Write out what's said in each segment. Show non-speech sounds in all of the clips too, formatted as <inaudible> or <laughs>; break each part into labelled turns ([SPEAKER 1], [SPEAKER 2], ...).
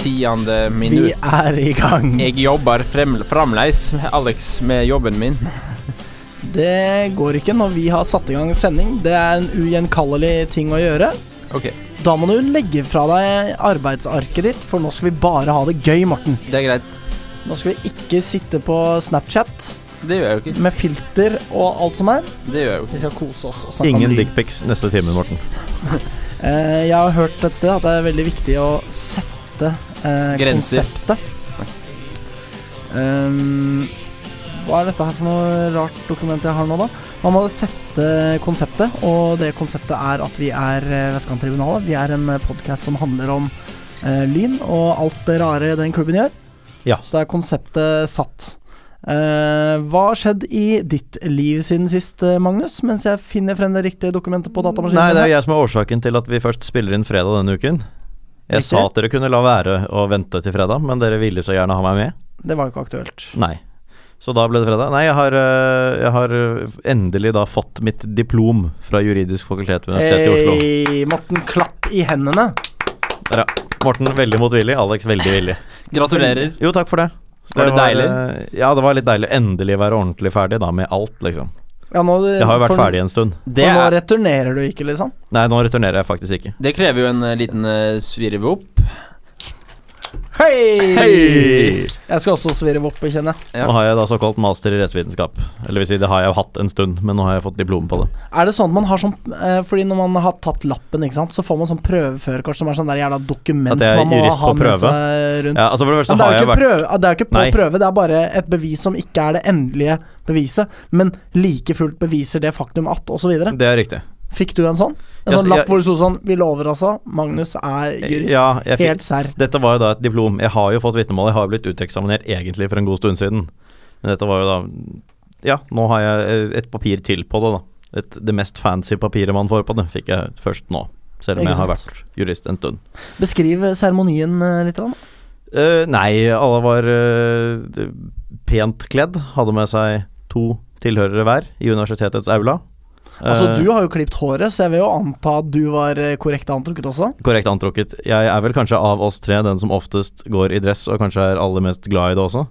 [SPEAKER 1] tiende
[SPEAKER 2] Vi
[SPEAKER 1] minutt.
[SPEAKER 2] er i gang.
[SPEAKER 1] Jeg jobber frem, fremleis, Alex, med jobben min.
[SPEAKER 2] Det går ikke når vi har satt i gang sending. Det er en ugjenkallelig ting å gjøre.
[SPEAKER 1] Ok,
[SPEAKER 2] Da må du legge fra deg arbeidsarket ditt, for nå skal vi bare ha det gøy, Morten.
[SPEAKER 1] det er greit.
[SPEAKER 2] Nå skal vi ikke sitte på Snapchat
[SPEAKER 1] Det gjør jeg jo ikke.
[SPEAKER 2] med filter og alt som er.
[SPEAKER 1] Det gjør jeg jo ikke.
[SPEAKER 2] Vi skal kose oss og snakke
[SPEAKER 3] Ingen
[SPEAKER 2] om lyd.
[SPEAKER 3] dickpics neste time, Morten.
[SPEAKER 2] Eh, jeg har hørt et sted at det er veldig viktig å sette eh,
[SPEAKER 1] Grenser.
[SPEAKER 2] konseptet. Ehm, hva er dette her for noe rart dokument jeg har nå, da? Man må sette konseptet, og det konseptet er at vi er eh, Vestkanttribunalet. Vi er en podkast som handler om eh, lyn og alt det rare den klubben gjør.
[SPEAKER 3] Ja.
[SPEAKER 2] Så da er konseptet satt. Eh, hva har skjedd i ditt liv siden sist, eh, Magnus? Mens jeg finner frem det riktige dokumentet på datamaskinen.
[SPEAKER 3] Nei, det
[SPEAKER 2] min
[SPEAKER 3] er
[SPEAKER 2] her.
[SPEAKER 3] jeg som er årsaken til at vi først spiller inn fredag denne uken. Jeg
[SPEAKER 2] Riktig.
[SPEAKER 3] sa at dere kunne la være å vente til fredag, men dere ville så gjerne ha meg med.
[SPEAKER 2] det var jo ikke aktuelt.
[SPEAKER 3] Nei. Så da ble det fredag. Nei, jeg har, øh, jeg har øh, endelig da fått mitt diplom fra juridisk fakultet ved Universitetet i Oslo.
[SPEAKER 2] Hei, Eh, Morten, klapp i hendene.
[SPEAKER 3] Der, ja. Morten veldig motvillig, Alex veldig villig.
[SPEAKER 1] Gratulerer.
[SPEAKER 3] Jo, takk for det. Så
[SPEAKER 1] Var det deilig?
[SPEAKER 3] øh, Ja, det var litt deilig. Endelig være ordentlig ferdig da med alt, liksom.
[SPEAKER 2] Ja, nå,
[SPEAKER 3] Jeg har jo vært
[SPEAKER 2] for,
[SPEAKER 3] ferdig en stund.
[SPEAKER 1] Det,
[SPEAKER 2] for nå
[SPEAKER 1] er,
[SPEAKER 2] returnerer du ikke, liksom.
[SPEAKER 3] Nei, nå returnerer jeg faktisk ikke.
[SPEAKER 1] det krever jo en eh, liten eh, svirve opp.
[SPEAKER 2] Hei!
[SPEAKER 3] Hei!
[SPEAKER 2] Jeg skal også svirre opp, kjenner jeg.
[SPEAKER 1] Ja.
[SPEAKER 3] Nå har jeg da såkalt master i rettsvitenskap. Eller vil si, det har jeg jo hatt en stund, men nå har jeg fått diplom på det.
[SPEAKER 2] Er det sånn at man har sånn eh, Fordi når man har tatt lappen, ikke sant, så får man sånn prøveførerkort som er sånn der jævla dokument
[SPEAKER 3] At jeg er
[SPEAKER 2] man må
[SPEAKER 3] jurist
[SPEAKER 2] ha
[SPEAKER 3] på
[SPEAKER 2] med
[SPEAKER 3] prøve?
[SPEAKER 2] seg rundt.
[SPEAKER 3] Ja, altså For det første
[SPEAKER 2] Men det
[SPEAKER 3] har
[SPEAKER 2] er jo
[SPEAKER 3] jeg
[SPEAKER 2] ikke,
[SPEAKER 3] vært
[SPEAKER 2] prøve, ja, det er jo ikke på
[SPEAKER 3] Nei.
[SPEAKER 2] prøve, det er bare et bevis som ikke er det endelige beviset, men like fullt beviser det faktum at, osv.
[SPEAKER 3] Det er riktig.
[SPEAKER 2] Fikk du en sånn? En
[SPEAKER 3] Ja,
[SPEAKER 2] sånn
[SPEAKER 3] så
[SPEAKER 2] lapp
[SPEAKER 3] jeg-
[SPEAKER 2] hvor det sto sånn Vi lover, altså. Magnus er jurist.
[SPEAKER 3] Ja, jeg fikk,
[SPEAKER 2] Helt serr.
[SPEAKER 3] dette var jo da et diplom. Jeg har jo fått vitnemål. Jeg har jo blitt uteksaminert egentlig for en god stund siden. Men dette var jo da Ja, nå har jeg eh, et papir til på det, da. Et, det mest fancy papiret man får på det, fikk jeg først nå. Selv om
[SPEAKER 2] Ikke
[SPEAKER 3] jeg har
[SPEAKER 2] sant.
[SPEAKER 3] vært jurist en stund.
[SPEAKER 2] Beskriv seremonien eh, litt. grann.
[SPEAKER 3] Eh, nei, alle var eh, pent kledd. Hadde med seg to tilhørere hver i universitetets aula.
[SPEAKER 2] Altså,
[SPEAKER 3] Eh,
[SPEAKER 2] du har jo klipt håret, så jeg vil jo anta at du var eh, korrekt antrukket også.
[SPEAKER 3] Korrekt antrukket. Jeg er vel kanskje av oss tre den som oftest går i dress, og kanskje er aller mest glad i det også.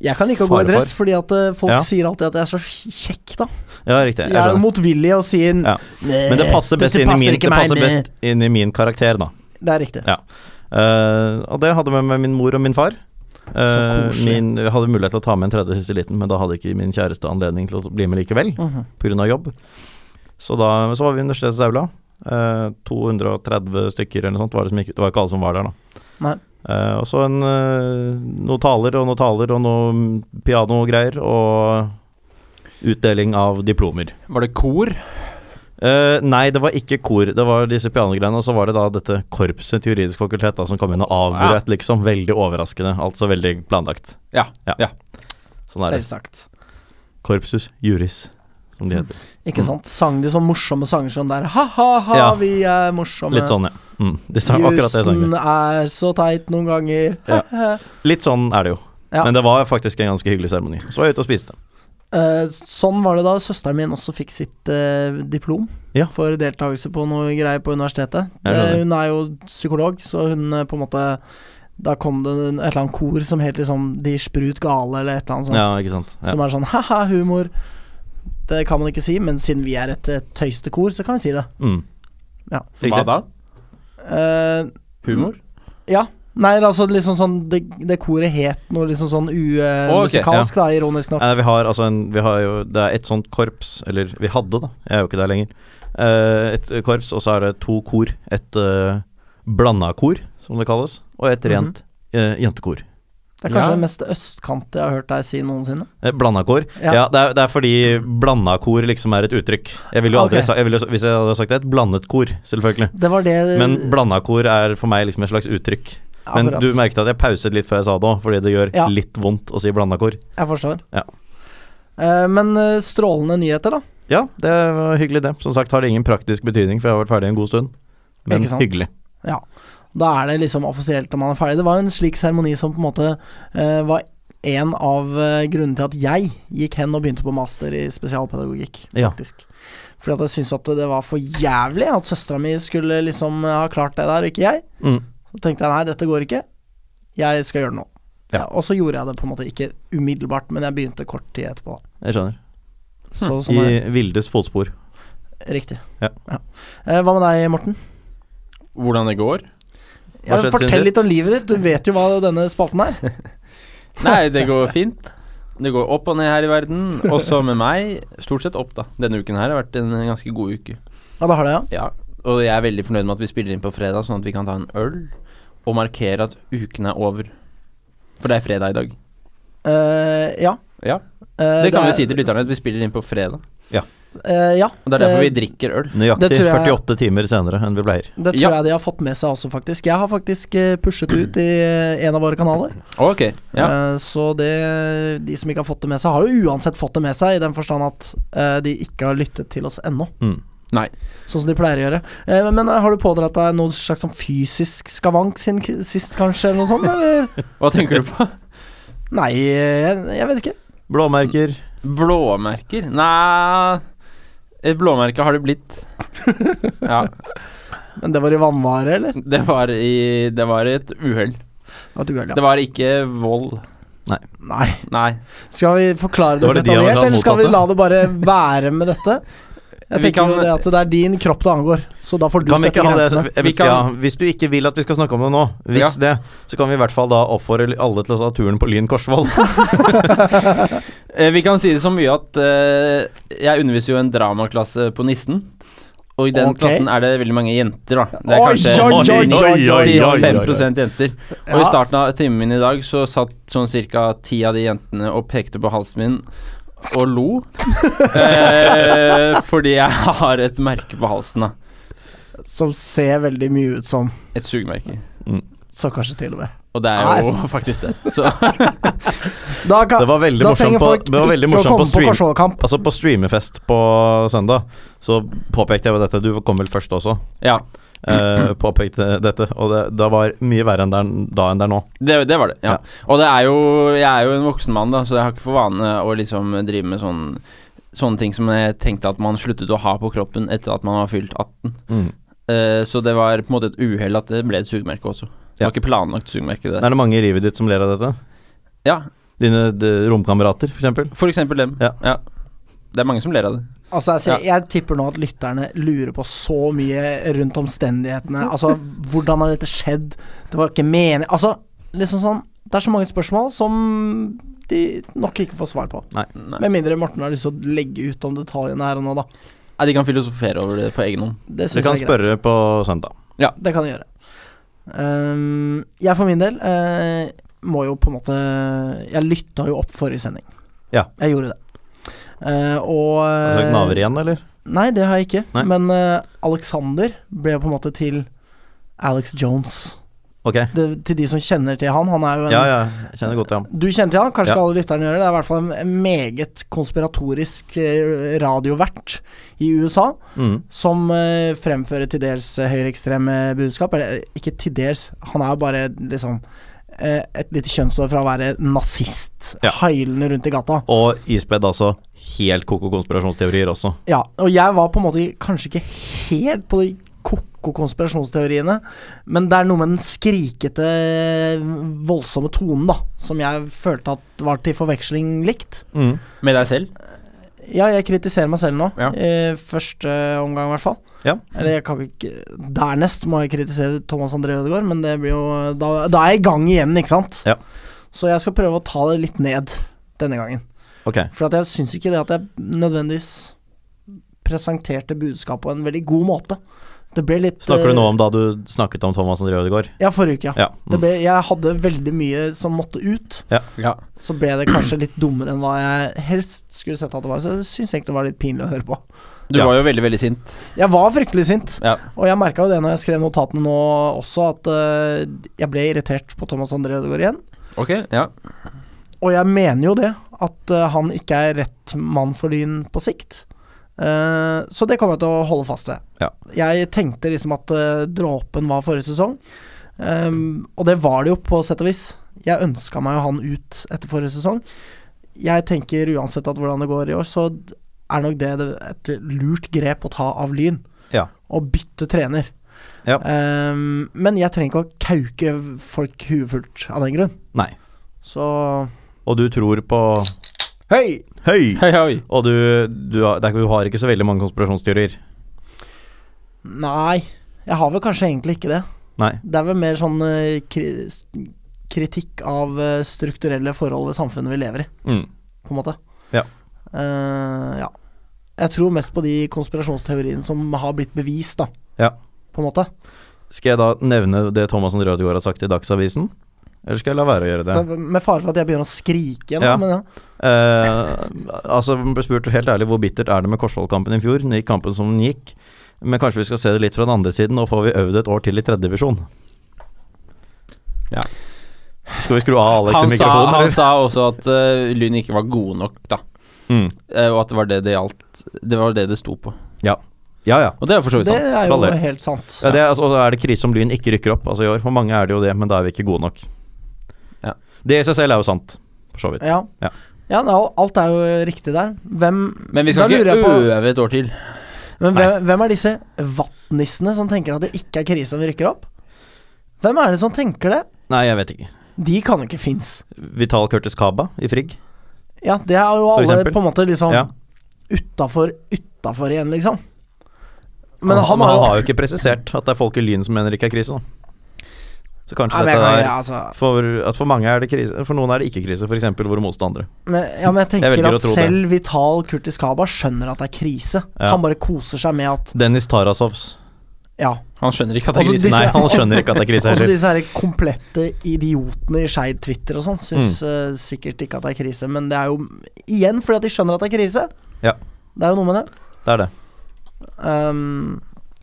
[SPEAKER 2] Jeg kan like å gå i
[SPEAKER 3] Farefar.
[SPEAKER 2] dress, fordi at eh, folk
[SPEAKER 3] Ja.
[SPEAKER 2] sier alltid at jeg er så kjekk, da.
[SPEAKER 3] Ja, riktig.
[SPEAKER 2] Så
[SPEAKER 3] Jeg
[SPEAKER 2] jeg er jo
[SPEAKER 3] skjønner.
[SPEAKER 2] motvillig og sier
[SPEAKER 3] Ja. Men det passer best, inn, i min, det passer best inn i min karakter, da.
[SPEAKER 2] Det er riktig.
[SPEAKER 3] Ja. Eh, og det hadde jeg med meg min mor og min far.
[SPEAKER 2] Så
[SPEAKER 3] Eh,
[SPEAKER 2] koselig.
[SPEAKER 3] min, jeg hadde mulighet til å ta med en tredje siste liten, men da hadde ikke min kjæreste anledning til å bli med likevel,
[SPEAKER 2] Mhm.
[SPEAKER 3] pga. jobb. Så da så var vi i universitetets aula. Eh, 230 stykker eller noe sånt. Var det, som gikk, ut. det var ikke alle som var der, da.
[SPEAKER 2] Nei.
[SPEAKER 3] Eh, og så en, eh, noen taler og noen taler og noe pianogreier og utdeling av diplomer.
[SPEAKER 1] Var det kor?
[SPEAKER 3] Eh, nei, det var ikke kor. Det var disse pianogreiene. Og så var det da dette korpset til juridisk fakultet da, som kom inn og avbrøt, liksom. Veldig overraskende. Altså veldig planlagt.
[SPEAKER 1] Ja, ja.
[SPEAKER 3] Sånn er det.
[SPEAKER 2] Selvsagt.
[SPEAKER 3] Korpsus juris, som de heter.
[SPEAKER 2] Ikke sant. Sang de sånne morsomme sanger som der Ha-ha-ha,
[SPEAKER 3] Mhm. Ja.
[SPEAKER 2] vi er morsomme.
[SPEAKER 3] Litt sånn, ja. Mm, de sang akkurat det sangen.
[SPEAKER 2] Jussen er så teit noen ganger.
[SPEAKER 3] Ja. Litt sånn er det jo.
[SPEAKER 2] Ja.
[SPEAKER 3] Men det var faktisk en ganske hyggelig seremoni. Så var jeg ute og spiste.
[SPEAKER 2] Eh, sånn var det da søsteren min også fikk sitt eh, diplom
[SPEAKER 3] Ja.
[SPEAKER 2] for deltakelse på noe greier på universitetet.
[SPEAKER 3] Jeg skjønner.
[SPEAKER 2] Eh, hun er jo psykolog, så hun eh, på en måte Da kom det en- et eller annet kor som het liksom De sprut gale, eller et eller annet sånt.
[SPEAKER 3] Ja, ikke sant. Ja.
[SPEAKER 2] Som er sånn ha-ha, humor. Det kan man ikke si, men siden vi er et eh, tøyste kor, så kan vi si det.
[SPEAKER 3] Mm.
[SPEAKER 2] Ja.
[SPEAKER 1] Hva
[SPEAKER 3] Riktig.
[SPEAKER 1] da?
[SPEAKER 2] Eh,
[SPEAKER 1] Humor?
[SPEAKER 2] nei, altså liksom sånn Det, det koret het noe liksom sånn
[SPEAKER 1] Å, ok,
[SPEAKER 2] umusikalsk, da, ironisk nok.
[SPEAKER 3] Nei, vi har altså en Vi har jo Det er et sånt korps, eller vi hadde, da. Jeg er jo ikke der lenger. Eh, et korps, og så er det to kor. Et uh, blanda kor, som det kalles, og
[SPEAKER 2] Mhm.
[SPEAKER 3] et rent eh, jentekor.
[SPEAKER 2] Det er kanskje
[SPEAKER 1] Ja.
[SPEAKER 2] det mest østkante jeg har hørt deg si noensinne.
[SPEAKER 3] Eh, Blanda kor?
[SPEAKER 2] Ja.
[SPEAKER 3] Ja, det, er, det er fordi blanda kor liksom er et uttrykk. Jeg ville jo aldri
[SPEAKER 2] Ok.
[SPEAKER 3] sa, jeg ville, jo- Hvis jeg hadde sagt det, et blandet kor, selvfølgelig.
[SPEAKER 2] Det var det
[SPEAKER 3] Men blanda kor er for meg liksom et slags uttrykk. Men
[SPEAKER 2] Akkurat.
[SPEAKER 3] du merket at jeg pauset litt før jeg sa det òg, fordi det gjør
[SPEAKER 2] Ja.
[SPEAKER 3] litt vondt å si blanda kor.
[SPEAKER 2] Jeg forstår.
[SPEAKER 3] Ja.
[SPEAKER 2] Eh, men eh, strålende nyheter, da.
[SPEAKER 3] Ja, det var hyggelig, det. Som sagt har det ingen praktisk betydning, for jeg har vært ferdig en god stund. Men
[SPEAKER 2] Ikke sant?
[SPEAKER 3] hyggelig.
[SPEAKER 2] Da er det liksom offisielt når man er ferdig. Det var jo en slik seremoni som på en måte eh, var en av eh, grunnene til at jeg gikk hen og begynte på master i spesialpedagogikk,
[SPEAKER 3] Ja.
[SPEAKER 2] faktisk. Fordi at jeg syntes at det var for jævlig at søstera mi skulle liksom eh, ha klart det der, og ikke jeg.
[SPEAKER 3] Mm.
[SPEAKER 2] Så Så tenkte jeg nei, dette går ikke, jeg skal gjøre det nå.
[SPEAKER 3] Ja.
[SPEAKER 2] Ja, og så gjorde jeg det på en måte ikke umiddelbart, men jeg begynte kort tid etterpå.
[SPEAKER 3] Jeg skjønner.
[SPEAKER 2] Så sånn er det.
[SPEAKER 3] Hm. I Vildes fotspor.
[SPEAKER 2] Riktig.
[SPEAKER 3] Ja.
[SPEAKER 2] Eh, hva med deg, Morten?
[SPEAKER 1] Hvordan det går?
[SPEAKER 2] Ja,
[SPEAKER 3] Hva skjedde siden
[SPEAKER 2] fortell
[SPEAKER 3] sist?
[SPEAKER 2] litt om livet ditt, du vet jo hva denne spalten er.
[SPEAKER 1] Nei, det går fint. Det går opp og ned her i verden. Også med meg. Stort sett opp, da. Denne uken her har vært en ganske god uke.
[SPEAKER 2] Ja, det har det, ja.
[SPEAKER 1] Ja. Og jeg er veldig fornøyd med at vi spiller inn på fredag, sånn at vi kan ta en øl og markere at uken er over. For det er fredag i dag.
[SPEAKER 2] Eh, ja.
[SPEAKER 1] Ja,
[SPEAKER 2] Eh,
[SPEAKER 1] Det kan
[SPEAKER 2] er-
[SPEAKER 1] vi si til lytterne, at vi spiller inn på fredag.
[SPEAKER 2] Eh, ja.
[SPEAKER 1] Og det er derfor vi
[SPEAKER 2] det-
[SPEAKER 1] drikker øl.
[SPEAKER 3] Nøyaktig
[SPEAKER 2] Det tror jeg-
[SPEAKER 3] 48 timer senere enn vi pleier.
[SPEAKER 2] Det tror
[SPEAKER 1] Ja.
[SPEAKER 2] jeg de har fått med seg også, faktisk. Jeg har faktisk eh, pushet ut i eh, en av våre kanaler.
[SPEAKER 1] Ok, ja.
[SPEAKER 2] Eh, Så det, de som ikke har fått det med seg, har jo uansett fått det med seg, i den forstand at eh, de ikke har lyttet til oss ennå,
[SPEAKER 3] Mm.
[SPEAKER 2] sånn som de pleier å gjøre. Eh, Men, men eh, har du pådratt deg noen slags sånn fysisk skavank siden k- sist, kanskje, eller noe
[SPEAKER 1] <laughs>
[SPEAKER 2] sånt? Eller?
[SPEAKER 1] Hva tenker du på?
[SPEAKER 2] Nei, eh, jeg, jeg vet ikke.
[SPEAKER 3] Blåmerker.
[SPEAKER 1] Blåmerker? Nei et Blåmerke har det blitt.
[SPEAKER 2] <laughs>
[SPEAKER 1] Ja.
[SPEAKER 2] Men det var i vannvare, eller?
[SPEAKER 1] Det var, i, det var et uhell.
[SPEAKER 2] At du ja.
[SPEAKER 1] Det var ikke vold.
[SPEAKER 2] Nei.
[SPEAKER 1] Nei.
[SPEAKER 2] Skal vi forklare det,
[SPEAKER 3] Det var det de hadde
[SPEAKER 2] detaljert,
[SPEAKER 3] klart
[SPEAKER 2] eller skal vi
[SPEAKER 3] motsatte.
[SPEAKER 2] la det bare være
[SPEAKER 1] <laughs>
[SPEAKER 2] med dette? Jeg
[SPEAKER 1] Vi
[SPEAKER 2] tenker
[SPEAKER 1] kan-
[SPEAKER 2] jo det at det er din kropp det angår, så da får du
[SPEAKER 3] Kan vi
[SPEAKER 2] sette
[SPEAKER 3] ikke ha det?
[SPEAKER 2] grensene.
[SPEAKER 3] Jeg
[SPEAKER 1] Vi
[SPEAKER 3] vet,
[SPEAKER 1] kan-
[SPEAKER 3] ja, hvis du ikke vil at vi skal snakke om det nå, hvis det, så kan vi i hvert fall da oppfordre alle til å ta turen på Lyn Korsvoll.
[SPEAKER 1] Eh, Vi kan si det så mye at eh, jeg underviser jo en dramaklasse på Nissen. Og i den
[SPEAKER 2] Ok.
[SPEAKER 1] klassen er det veldig mange jenter, da. Det er
[SPEAKER 2] <laughs> Oi,
[SPEAKER 1] kanskje
[SPEAKER 2] oi,
[SPEAKER 3] oi, oi, oi, oi, oi, oi.
[SPEAKER 1] 85 jenter. Og i
[SPEAKER 2] Ja.
[SPEAKER 1] starten av timen min i dag så satt sånn ca. ti av de jentene og pekte på halsen min og lo. eh, fordi jeg har et merke på halsen, da.
[SPEAKER 2] Som ser veldig mye ut som
[SPEAKER 1] Et sugemerke.
[SPEAKER 2] Så kanskje til og med.
[SPEAKER 1] Og det er jo faktisk det. Så
[SPEAKER 2] Da kan,
[SPEAKER 3] Det var veldig morsomt på, det var veldig morsomt på stream.
[SPEAKER 2] Korsvollkamp.
[SPEAKER 3] Altså på streamerfest på søndag så påpekte jeg dette. Du kom vel først også.
[SPEAKER 1] ja.
[SPEAKER 3] Eh,
[SPEAKER 2] <clears throat>
[SPEAKER 3] påpekte dette, og det, det var mye verre enn det er, da enn det er nå.
[SPEAKER 1] Det, det var det, ja.
[SPEAKER 3] Ja.
[SPEAKER 1] Og det er jo, jeg er jo en voksen mann, da, så jeg har ikke for vane å liksom drive med sånn, sånne ting som jeg tenkte at man sluttet å ha på kroppen etter at man var fylt 18.
[SPEAKER 2] Mm.
[SPEAKER 1] Eh, så det var på en måte et uhell at det ble et sugemerke også. Det
[SPEAKER 3] Ja.
[SPEAKER 1] var ikke planlagt sugemerke, det.
[SPEAKER 3] Er det mange i livet ditt som ler av dette?
[SPEAKER 1] Ja,
[SPEAKER 3] Dine de, romkamerater, f.eks.?
[SPEAKER 1] for eksempel dem.
[SPEAKER 3] Ja.
[SPEAKER 1] Det er mange som ler av det.
[SPEAKER 2] Altså, jeg, sier- jeg tipper nå at lytterne lurer på så mye rundt omstendighetene. Altså, hvordan har dette skjedd? Det var ikke meningen Altså, liksom sånn Det er så mange spørsmål som de nok ikke får svar på.
[SPEAKER 1] Nei.
[SPEAKER 2] Med mindre Morten har lyst til å legge ut om detaljene her og nå, da.
[SPEAKER 1] Nei, de kan filosofere over det på egen hånd.
[SPEAKER 2] Det
[SPEAKER 3] Du
[SPEAKER 2] syns
[SPEAKER 3] kan
[SPEAKER 2] jeg er greit.
[SPEAKER 3] spørre på søndag.
[SPEAKER 2] Det kan jeg gjøre. Ehm, jeg for min del eh, må jo på en måte Jeg lytta jo opp forrige sending.
[SPEAKER 3] Ja.
[SPEAKER 2] Jeg gjorde det. Eh, og
[SPEAKER 3] Har du søkt naver igjen, eller?
[SPEAKER 2] Nei, det har jeg ikke.
[SPEAKER 3] Nei.
[SPEAKER 2] Men eh, Alexander ble på en måte til Alex Jones.
[SPEAKER 3] Ok.
[SPEAKER 2] Det, til de som kjenner til han. Han er jo en
[SPEAKER 3] Ja, ja. Jeg kjenner godt til ham.
[SPEAKER 2] Du kjenner til han, kanskje
[SPEAKER 3] Ja.
[SPEAKER 2] ikke alle lytterne gjør det. Det er i hvert fall en meget konspiratorisk eh, radiovert i USA
[SPEAKER 3] Mm.
[SPEAKER 2] som eh, fremfører til dels eh, høyreekstreme budskap. Eller eh, ikke til dels, han er jo bare liksom eh, et lite kjønnsår fra å være nazist,
[SPEAKER 3] Ja.
[SPEAKER 2] heilende rundt i gata.
[SPEAKER 3] Og ispedd, altså. Helt koko konspirasjonsteorier også.
[SPEAKER 2] Ja, og jeg var på en måte kanskje ikke helt på de koko konspirasjonsteoriene, men det er noe med den skrikete, eh, voldsomme tonen, da, som jeg følte at var til forveksling likt.
[SPEAKER 3] Mm.
[SPEAKER 1] Med deg selv?
[SPEAKER 2] Ja, jeg kritiserer meg selv nå.
[SPEAKER 1] Ja.
[SPEAKER 2] Eh, første omgang, i hvert fall.
[SPEAKER 3] Ja.
[SPEAKER 2] Eller jeg kan ikke Dernest må jeg kritisere Thomas André Ødegaard, men det blir jo da, da er jeg i gang igjen, ikke sant?
[SPEAKER 3] Ja.
[SPEAKER 2] Så jeg skal prøve å ta det litt ned denne gangen.
[SPEAKER 3] Ok.
[SPEAKER 2] For at jeg syns ikke det at jeg nødvendigvis presenterte budskapet på en veldig god måte. Det ble litt
[SPEAKER 3] Snakker du
[SPEAKER 2] eh,
[SPEAKER 3] nå om da du snakket om Thomas André Ødegaard?
[SPEAKER 2] Ja, forrige uke, ja.
[SPEAKER 3] Ja.
[SPEAKER 2] Det
[SPEAKER 3] Mm.
[SPEAKER 2] ble, jeg hadde veldig mye som måtte ut.
[SPEAKER 1] Ja.
[SPEAKER 2] Så ble det kanskje litt dummere enn hva jeg helst skulle sett at det var. Så jeg syns egentlig det var litt pinlig å høre på.
[SPEAKER 1] Du
[SPEAKER 3] Ja.
[SPEAKER 1] var jo veldig, veldig sint.
[SPEAKER 2] Jeg var fryktelig sint,
[SPEAKER 1] Ja.
[SPEAKER 2] og jeg merka jo det når jeg skrev notatene nå også, at eh, jeg ble irritert på Thomas André Ødegaard igjen.
[SPEAKER 1] Ok, ja.
[SPEAKER 2] Og jeg mener jo det, at eh, han ikke er rett mann for Lyn på sikt. Eh, så det kommer jeg til å holde fast ved.
[SPEAKER 3] Ja.
[SPEAKER 2] Jeg tenkte liksom at eh, dråpen var forrige sesong, Ehm, og det var det jo på sett og vis. Jeg ønska meg jo han ut etter forrige sesong. Jeg tenker uansett at hvordan det går i år, så d- er nok det det- et lurt grep å ta av Lyn.
[SPEAKER 3] Ja.
[SPEAKER 2] Å bytte trener.
[SPEAKER 3] Ja.
[SPEAKER 2] Ehm, men jeg trenger ikke å kauke folk huet fullt av den grunn.
[SPEAKER 3] Mm. Nei.
[SPEAKER 2] Så
[SPEAKER 3] Og du tror på
[SPEAKER 2] Høy!
[SPEAKER 3] Høy!
[SPEAKER 1] Hei, hei.
[SPEAKER 3] Og du, du, har, det er, ikke- du har ikke så veldig mange konspirasjonsteorier.
[SPEAKER 2] Nei, jeg har vel kanskje egentlig ikke det.
[SPEAKER 3] Nei.
[SPEAKER 2] Det er vel mer sånn eh, kri s- kritikk av eh, strukturelle forhold ved samfunnet vi lever i,
[SPEAKER 3] Mm.
[SPEAKER 2] på en måte.
[SPEAKER 3] Ja.
[SPEAKER 2] Eh, ja. Jeg tror mest på de konspirasjonsteoriene som har blitt bevist, da.
[SPEAKER 3] Ja.
[SPEAKER 2] På en måned.
[SPEAKER 3] Skal jeg da nevne det Thomassen Rødgaard har sagt i Dagsavisen? Eller skal jeg la være å gjøre det?
[SPEAKER 2] Med fare for at jeg begynner å skrike igjen,
[SPEAKER 3] Ja.
[SPEAKER 2] men ja.
[SPEAKER 3] Eh, altså, ble spurt helt ærlig hvor bittert er det med Korsvoll-kampen i fjor. Den gikk kampen som den gikk. Men kanskje vi skal se det litt fra den andre siden, og får vi øvd et år til i tredjedivisjon.
[SPEAKER 1] Ja.
[SPEAKER 3] Skal vi skru av Alex i
[SPEAKER 1] Han sa,
[SPEAKER 3] mikrofonen,
[SPEAKER 1] han
[SPEAKER 3] eller?
[SPEAKER 1] sa også at eh, Lyn ikke var gode nok, da.
[SPEAKER 3] Mm.
[SPEAKER 1] Eh, og at det var det det gjaldt. Det var det det sto på.
[SPEAKER 3] Ja, ja.
[SPEAKER 1] Og det er for så vidt
[SPEAKER 2] Det
[SPEAKER 1] sant.
[SPEAKER 2] er jo
[SPEAKER 3] Baller.
[SPEAKER 2] helt sant.
[SPEAKER 3] ja det, er- altså, er det krise om Lyn ikke rykker opp altså, i år. For mange er det jo det, men da er vi ikke gode nok.
[SPEAKER 1] Ja.
[SPEAKER 3] Det i seg selv er jo sant, for så vidt.
[SPEAKER 2] Ja.
[SPEAKER 3] Ja.
[SPEAKER 2] Ja, nei, alt er jo riktig der. Hvem
[SPEAKER 1] Men vi
[SPEAKER 2] da
[SPEAKER 1] skal
[SPEAKER 2] lurer jeg
[SPEAKER 1] ikke
[SPEAKER 2] på-
[SPEAKER 1] øve et år til.
[SPEAKER 2] Men hvem, hvem er disse vattnissene som tenker at det ikke er krise om vi rykker opp? Hvem er det som tenker det?
[SPEAKER 3] Nei, jeg vet ikke.
[SPEAKER 2] De kan jo ikke fins.
[SPEAKER 3] Vital Curtis Kaba i Frigg.
[SPEAKER 2] Ja, det er jo
[SPEAKER 3] For
[SPEAKER 2] alle
[SPEAKER 3] eksempel?
[SPEAKER 2] på en måte liksom
[SPEAKER 3] Ja.
[SPEAKER 2] utafor utafor igjen, liksom. Men
[SPEAKER 3] Men
[SPEAKER 2] han,
[SPEAKER 3] han,
[SPEAKER 2] har jo
[SPEAKER 3] har jo ikke presisert at det er folk i Lyn som mener det ikke er krise, da. Så kanskje
[SPEAKER 2] Nei, men, jeg
[SPEAKER 3] dette
[SPEAKER 2] kan,
[SPEAKER 3] er
[SPEAKER 2] ja, altså,
[SPEAKER 3] For at for mange er det krise, for noen er det ikke krise, f.eks. våre motstandere.
[SPEAKER 2] men, ja, men jeg tenker
[SPEAKER 3] velger å
[SPEAKER 2] at
[SPEAKER 3] tro det.
[SPEAKER 2] selv Vital Kurtis Kaba skjønner at det er krise.
[SPEAKER 3] Ja.
[SPEAKER 2] Han bare koser seg med at
[SPEAKER 3] Dennis Tarasovs.
[SPEAKER 2] Ja.
[SPEAKER 1] Han skjønner ikke at det er
[SPEAKER 2] Altså,
[SPEAKER 1] krise.
[SPEAKER 2] disse-
[SPEAKER 3] Nei, han skjønner ikke at det
[SPEAKER 2] <laughs>
[SPEAKER 3] er krise
[SPEAKER 2] Også
[SPEAKER 3] heller.
[SPEAKER 2] disse her komplette idiotene i Skeid Twitter og sånn syns eh, sikkert ikke at det er krise, men det er jo igjen fordi at de skjønner at det er krise.
[SPEAKER 3] Ja.
[SPEAKER 2] Det er jo noe med det.
[SPEAKER 3] Det er det.
[SPEAKER 2] Ehm,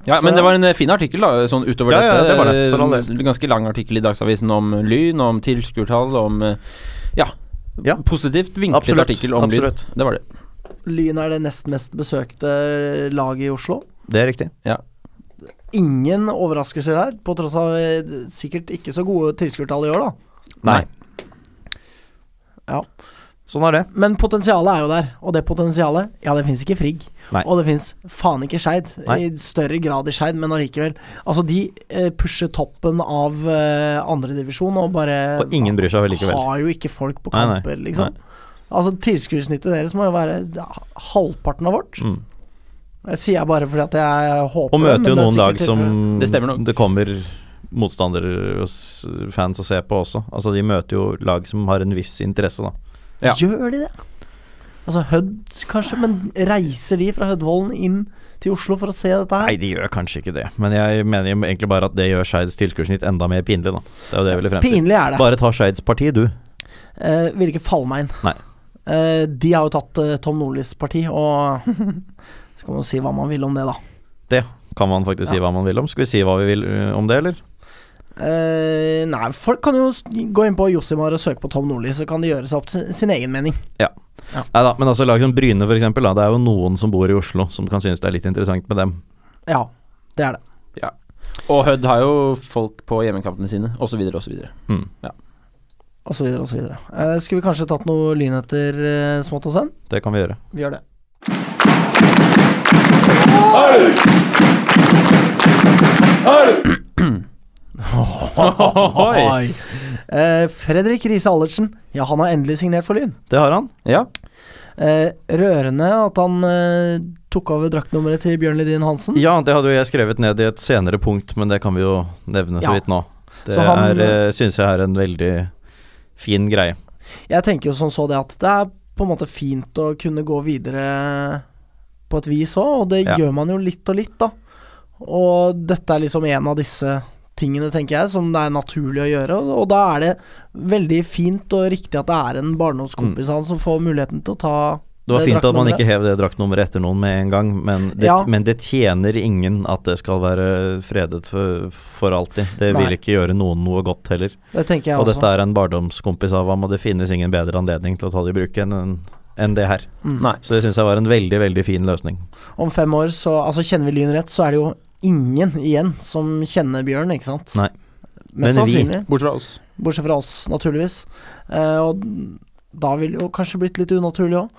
[SPEAKER 1] Ja,
[SPEAKER 2] Så-
[SPEAKER 1] men det var en eh, fin artikkel, da, sånn utover
[SPEAKER 3] Ja, ja,
[SPEAKER 1] dette.
[SPEAKER 3] det var det, for all
[SPEAKER 1] Eh, Ganske lang artikkel i Dagsavisen om Lyn, om tilskuertall, om eh, Ja.
[SPEAKER 3] Ja.
[SPEAKER 1] Positivt vinklet
[SPEAKER 3] Absolutt,
[SPEAKER 1] artikkel om Lyn.
[SPEAKER 3] absolutt.
[SPEAKER 1] Det var det.
[SPEAKER 2] Lyn er det nest mest besøkte laget i Oslo.
[SPEAKER 3] Det er riktig.
[SPEAKER 2] Ingen overraskelser her, på tross av eh, sikkert ikke så gode tilskuertall i år, da.
[SPEAKER 3] Nei.
[SPEAKER 2] Ja.
[SPEAKER 3] Sånn er det.
[SPEAKER 2] Men potensialet er jo der, og det potensialet, ja, det fins ikke i Frigg.
[SPEAKER 3] Nei.
[SPEAKER 2] Og det fins faen ikke i Skeid.
[SPEAKER 3] Nei.
[SPEAKER 2] I større grad i Skeid, men allikevel. Altså, de eh, pusher toppen av eh, andredivisjon og bare
[SPEAKER 3] Og ingen bryr seg vel likevel.
[SPEAKER 2] har jo ikke folk på
[SPEAKER 3] Nei, nei,
[SPEAKER 2] kamper, liksom. Altså, tilskuddssnittet deres må jo være ja, halvparten av vårt.
[SPEAKER 3] Mm.
[SPEAKER 2] Det sier jeg bare fordi at jeg håper det,
[SPEAKER 3] Og
[SPEAKER 2] men
[SPEAKER 3] møter
[SPEAKER 2] det
[SPEAKER 3] jo
[SPEAKER 2] er
[SPEAKER 3] noen
[SPEAKER 2] sikkert
[SPEAKER 3] lag som
[SPEAKER 2] tilfelle.
[SPEAKER 1] Det stemmer nok.
[SPEAKER 3] det kommer motstandere og s- fans å se på også. Altså De møter jo lag som har en viss interesse, da.
[SPEAKER 1] Ja.
[SPEAKER 2] Gjør de det? Altså Hødd, kanskje, men reiser de fra Hødvollen inn til Oslo for å se dette her?
[SPEAKER 3] Nei, de gjør kanskje ikke det, men jeg mener jo egentlig bare at det gjør Skeids tilskuddssnitt enda mer pinlig, da. Det er jo det jeg ville frem til.
[SPEAKER 2] Pinlig er det.
[SPEAKER 3] Bare ta Skeids parti, du.
[SPEAKER 2] Eh, vil ikke falle meg inn.
[SPEAKER 3] Nei.
[SPEAKER 2] Eh, de har jo tatt eh, Tom Nordlys parti, <laughs> og så kan man jo si hva man vil om det, da.
[SPEAKER 3] Kan man faktisk si
[SPEAKER 2] Ja.
[SPEAKER 3] hva man vil om. Skal vi si hva vi vil øh, om det, eller?
[SPEAKER 2] Eh, nei, folk kan jo s- gå inn på Josimar og søke på Tom Nordlys, så kan de gjøre seg opp sin, sin egen mening.
[SPEAKER 3] Nei da, men altså lag som Bryne for eksempel, da, det er jo noen som bor i Oslo som kan synes det er litt interessant med dem.
[SPEAKER 2] Ja, det er det.
[SPEAKER 1] Og Hødd har jo folk på hjemmekampene sine, osv., osv.
[SPEAKER 3] Mm.
[SPEAKER 2] Og så videre og så videre. Eh, skulle vi kanskje tatt noe lynheter eh, smått og sen?
[SPEAKER 3] Det kan vi gjøre.
[SPEAKER 2] Vi gjør det.
[SPEAKER 1] Oi.
[SPEAKER 2] Eh, Fredrik Riise Allertsen, ja, han har endelig signert for Lyn.
[SPEAKER 3] Det har han.
[SPEAKER 1] Ja.
[SPEAKER 2] Eh, rørende at han eh, tok over draktnummeret til Bjørn Lidin Hansen.
[SPEAKER 3] Ja, det hadde jo jeg skrevet ned i et senere punkt, men det kan vi jo nevne
[SPEAKER 2] Ja.
[SPEAKER 3] så vidt nå. Det
[SPEAKER 2] Så han-
[SPEAKER 3] er, syns jeg er en veldig fin greie.
[SPEAKER 2] Jeg tenker jo som så det at det er på en måte fint å kunne gå videre på et vis òg, og det
[SPEAKER 3] Ja.
[SPEAKER 2] gjør man jo litt og litt, da. Og dette er liksom en av disse tingene, tenker jeg, som det er naturlig å gjøre. og- Og da er det veldig fint og riktig at det er en barndomskompis av han som får muligheten til å ta
[SPEAKER 3] Mm. Det var
[SPEAKER 2] Det
[SPEAKER 3] fint at man
[SPEAKER 2] draktnummeret.
[SPEAKER 3] ikke hev det draktnummeret etter noen med en gang, men det,
[SPEAKER 2] Ja.
[SPEAKER 3] men det tjener ingen at det skal være fredet for, for alltid. Det
[SPEAKER 2] Nei. altså.
[SPEAKER 3] vil ikke gjøre noen noe godt heller.
[SPEAKER 2] Det tenker jeg
[SPEAKER 3] og
[SPEAKER 2] også.
[SPEAKER 3] dette er en barndomskompis av ham, og det finnes ingen bedre anledning til å ta det i bruk enn enn det her.
[SPEAKER 2] Mm.
[SPEAKER 1] Nei.
[SPEAKER 3] Så det syns jeg var en veldig, veldig fin løsning.
[SPEAKER 2] Om fem år, så altså kjenner vi Lyn rett, så er det jo ingen igjen som kjenner Bjørn, ikke sant?
[SPEAKER 3] Nei.
[SPEAKER 2] Mest
[SPEAKER 3] Men vi-
[SPEAKER 2] sannsynlig.
[SPEAKER 1] Bortsett fra oss.
[SPEAKER 2] Bortsett fra oss, naturligvis. Eh, og da ville jo kanskje blitt litt unaturlig òg.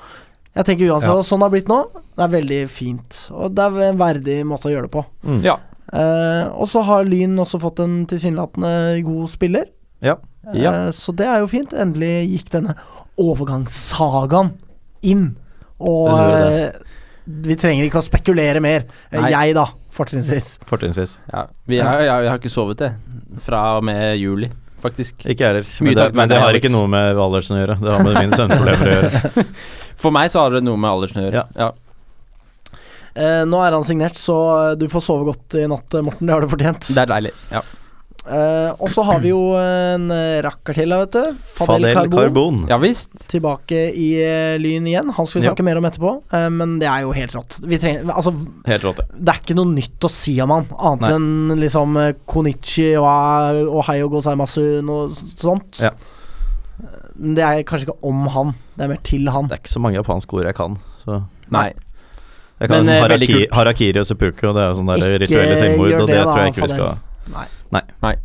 [SPEAKER 2] Jeg tenker uansett
[SPEAKER 3] Ja.
[SPEAKER 2] at sånn det har blitt nå, det er veldig fint. Og det er en verdig måte å gjøre det på.
[SPEAKER 3] Mm.
[SPEAKER 1] Ja.
[SPEAKER 2] Eh, og så har Lyn også fått en tilsynelatende god spiller.
[SPEAKER 3] Ja.
[SPEAKER 2] Eh, så det er jo fint. Endelig gikk denne overgangssagaen inn. Og
[SPEAKER 3] Den gjorde
[SPEAKER 2] eh, vi trenger ikke å spekulere mer. Eh,
[SPEAKER 1] Nei.
[SPEAKER 2] Jeg, da, fortrinnsvis.
[SPEAKER 3] Fortrinnsvis.
[SPEAKER 1] Ja. Vi har, jeg, jeg har ikke sovet, jeg. Fra og med juli, faktisk.
[SPEAKER 3] Ikke jeg heller.
[SPEAKER 1] Mye
[SPEAKER 3] Men det,
[SPEAKER 1] takk til
[SPEAKER 3] men det
[SPEAKER 1] deg,
[SPEAKER 3] har
[SPEAKER 1] Alex.
[SPEAKER 3] ikke noe med Valersen å gjøre. Det har med mine søvnproblemer å gjøre.
[SPEAKER 1] For meg så har det noe med aldersen å gjøre.
[SPEAKER 3] Ja.
[SPEAKER 1] Ja.
[SPEAKER 2] Eh, nå er han signert, så eh, du får sove godt i natt, eh, Morten. Det har du fortjent.
[SPEAKER 1] Det er deilig. Ja.
[SPEAKER 2] Eh, og så har vi jo en eh, rakker til, da, vet du. Fadel,
[SPEAKER 3] Fadel
[SPEAKER 2] Karbon.
[SPEAKER 3] Karbon.
[SPEAKER 1] ja visst.
[SPEAKER 2] Tilbake i eh, Lyn igjen. Han skal vi
[SPEAKER 3] Ja.
[SPEAKER 2] snakke mer om etterpå, eh, men det er jo helt rått. Vi trenger, altså,
[SPEAKER 3] Helt rått. ja.
[SPEAKER 2] det er ikke noe nytt å si om han, annet
[SPEAKER 3] Nei.
[SPEAKER 2] enn liksom eh, Konichi og Ohayo Gozaimasu og sånt.
[SPEAKER 3] Ja.
[SPEAKER 2] Men Det er kanskje ikke om han, det er mer til han.
[SPEAKER 3] Det er ikke så mange japanske ord jeg kan. Så.
[SPEAKER 1] Nei.
[SPEAKER 3] Jeg kan
[SPEAKER 1] Men, eh, veldig
[SPEAKER 3] haraki,
[SPEAKER 1] kult.
[SPEAKER 3] harakiri og seppuku, og det er jo sånne der
[SPEAKER 2] Ikke
[SPEAKER 3] rituelle selvmord,
[SPEAKER 2] gjør
[SPEAKER 3] og
[SPEAKER 2] det
[SPEAKER 3] det
[SPEAKER 2] da,
[SPEAKER 3] tror jeg ikke vi skal
[SPEAKER 2] Fadel. Nei.
[SPEAKER 3] Nei.
[SPEAKER 1] Nei.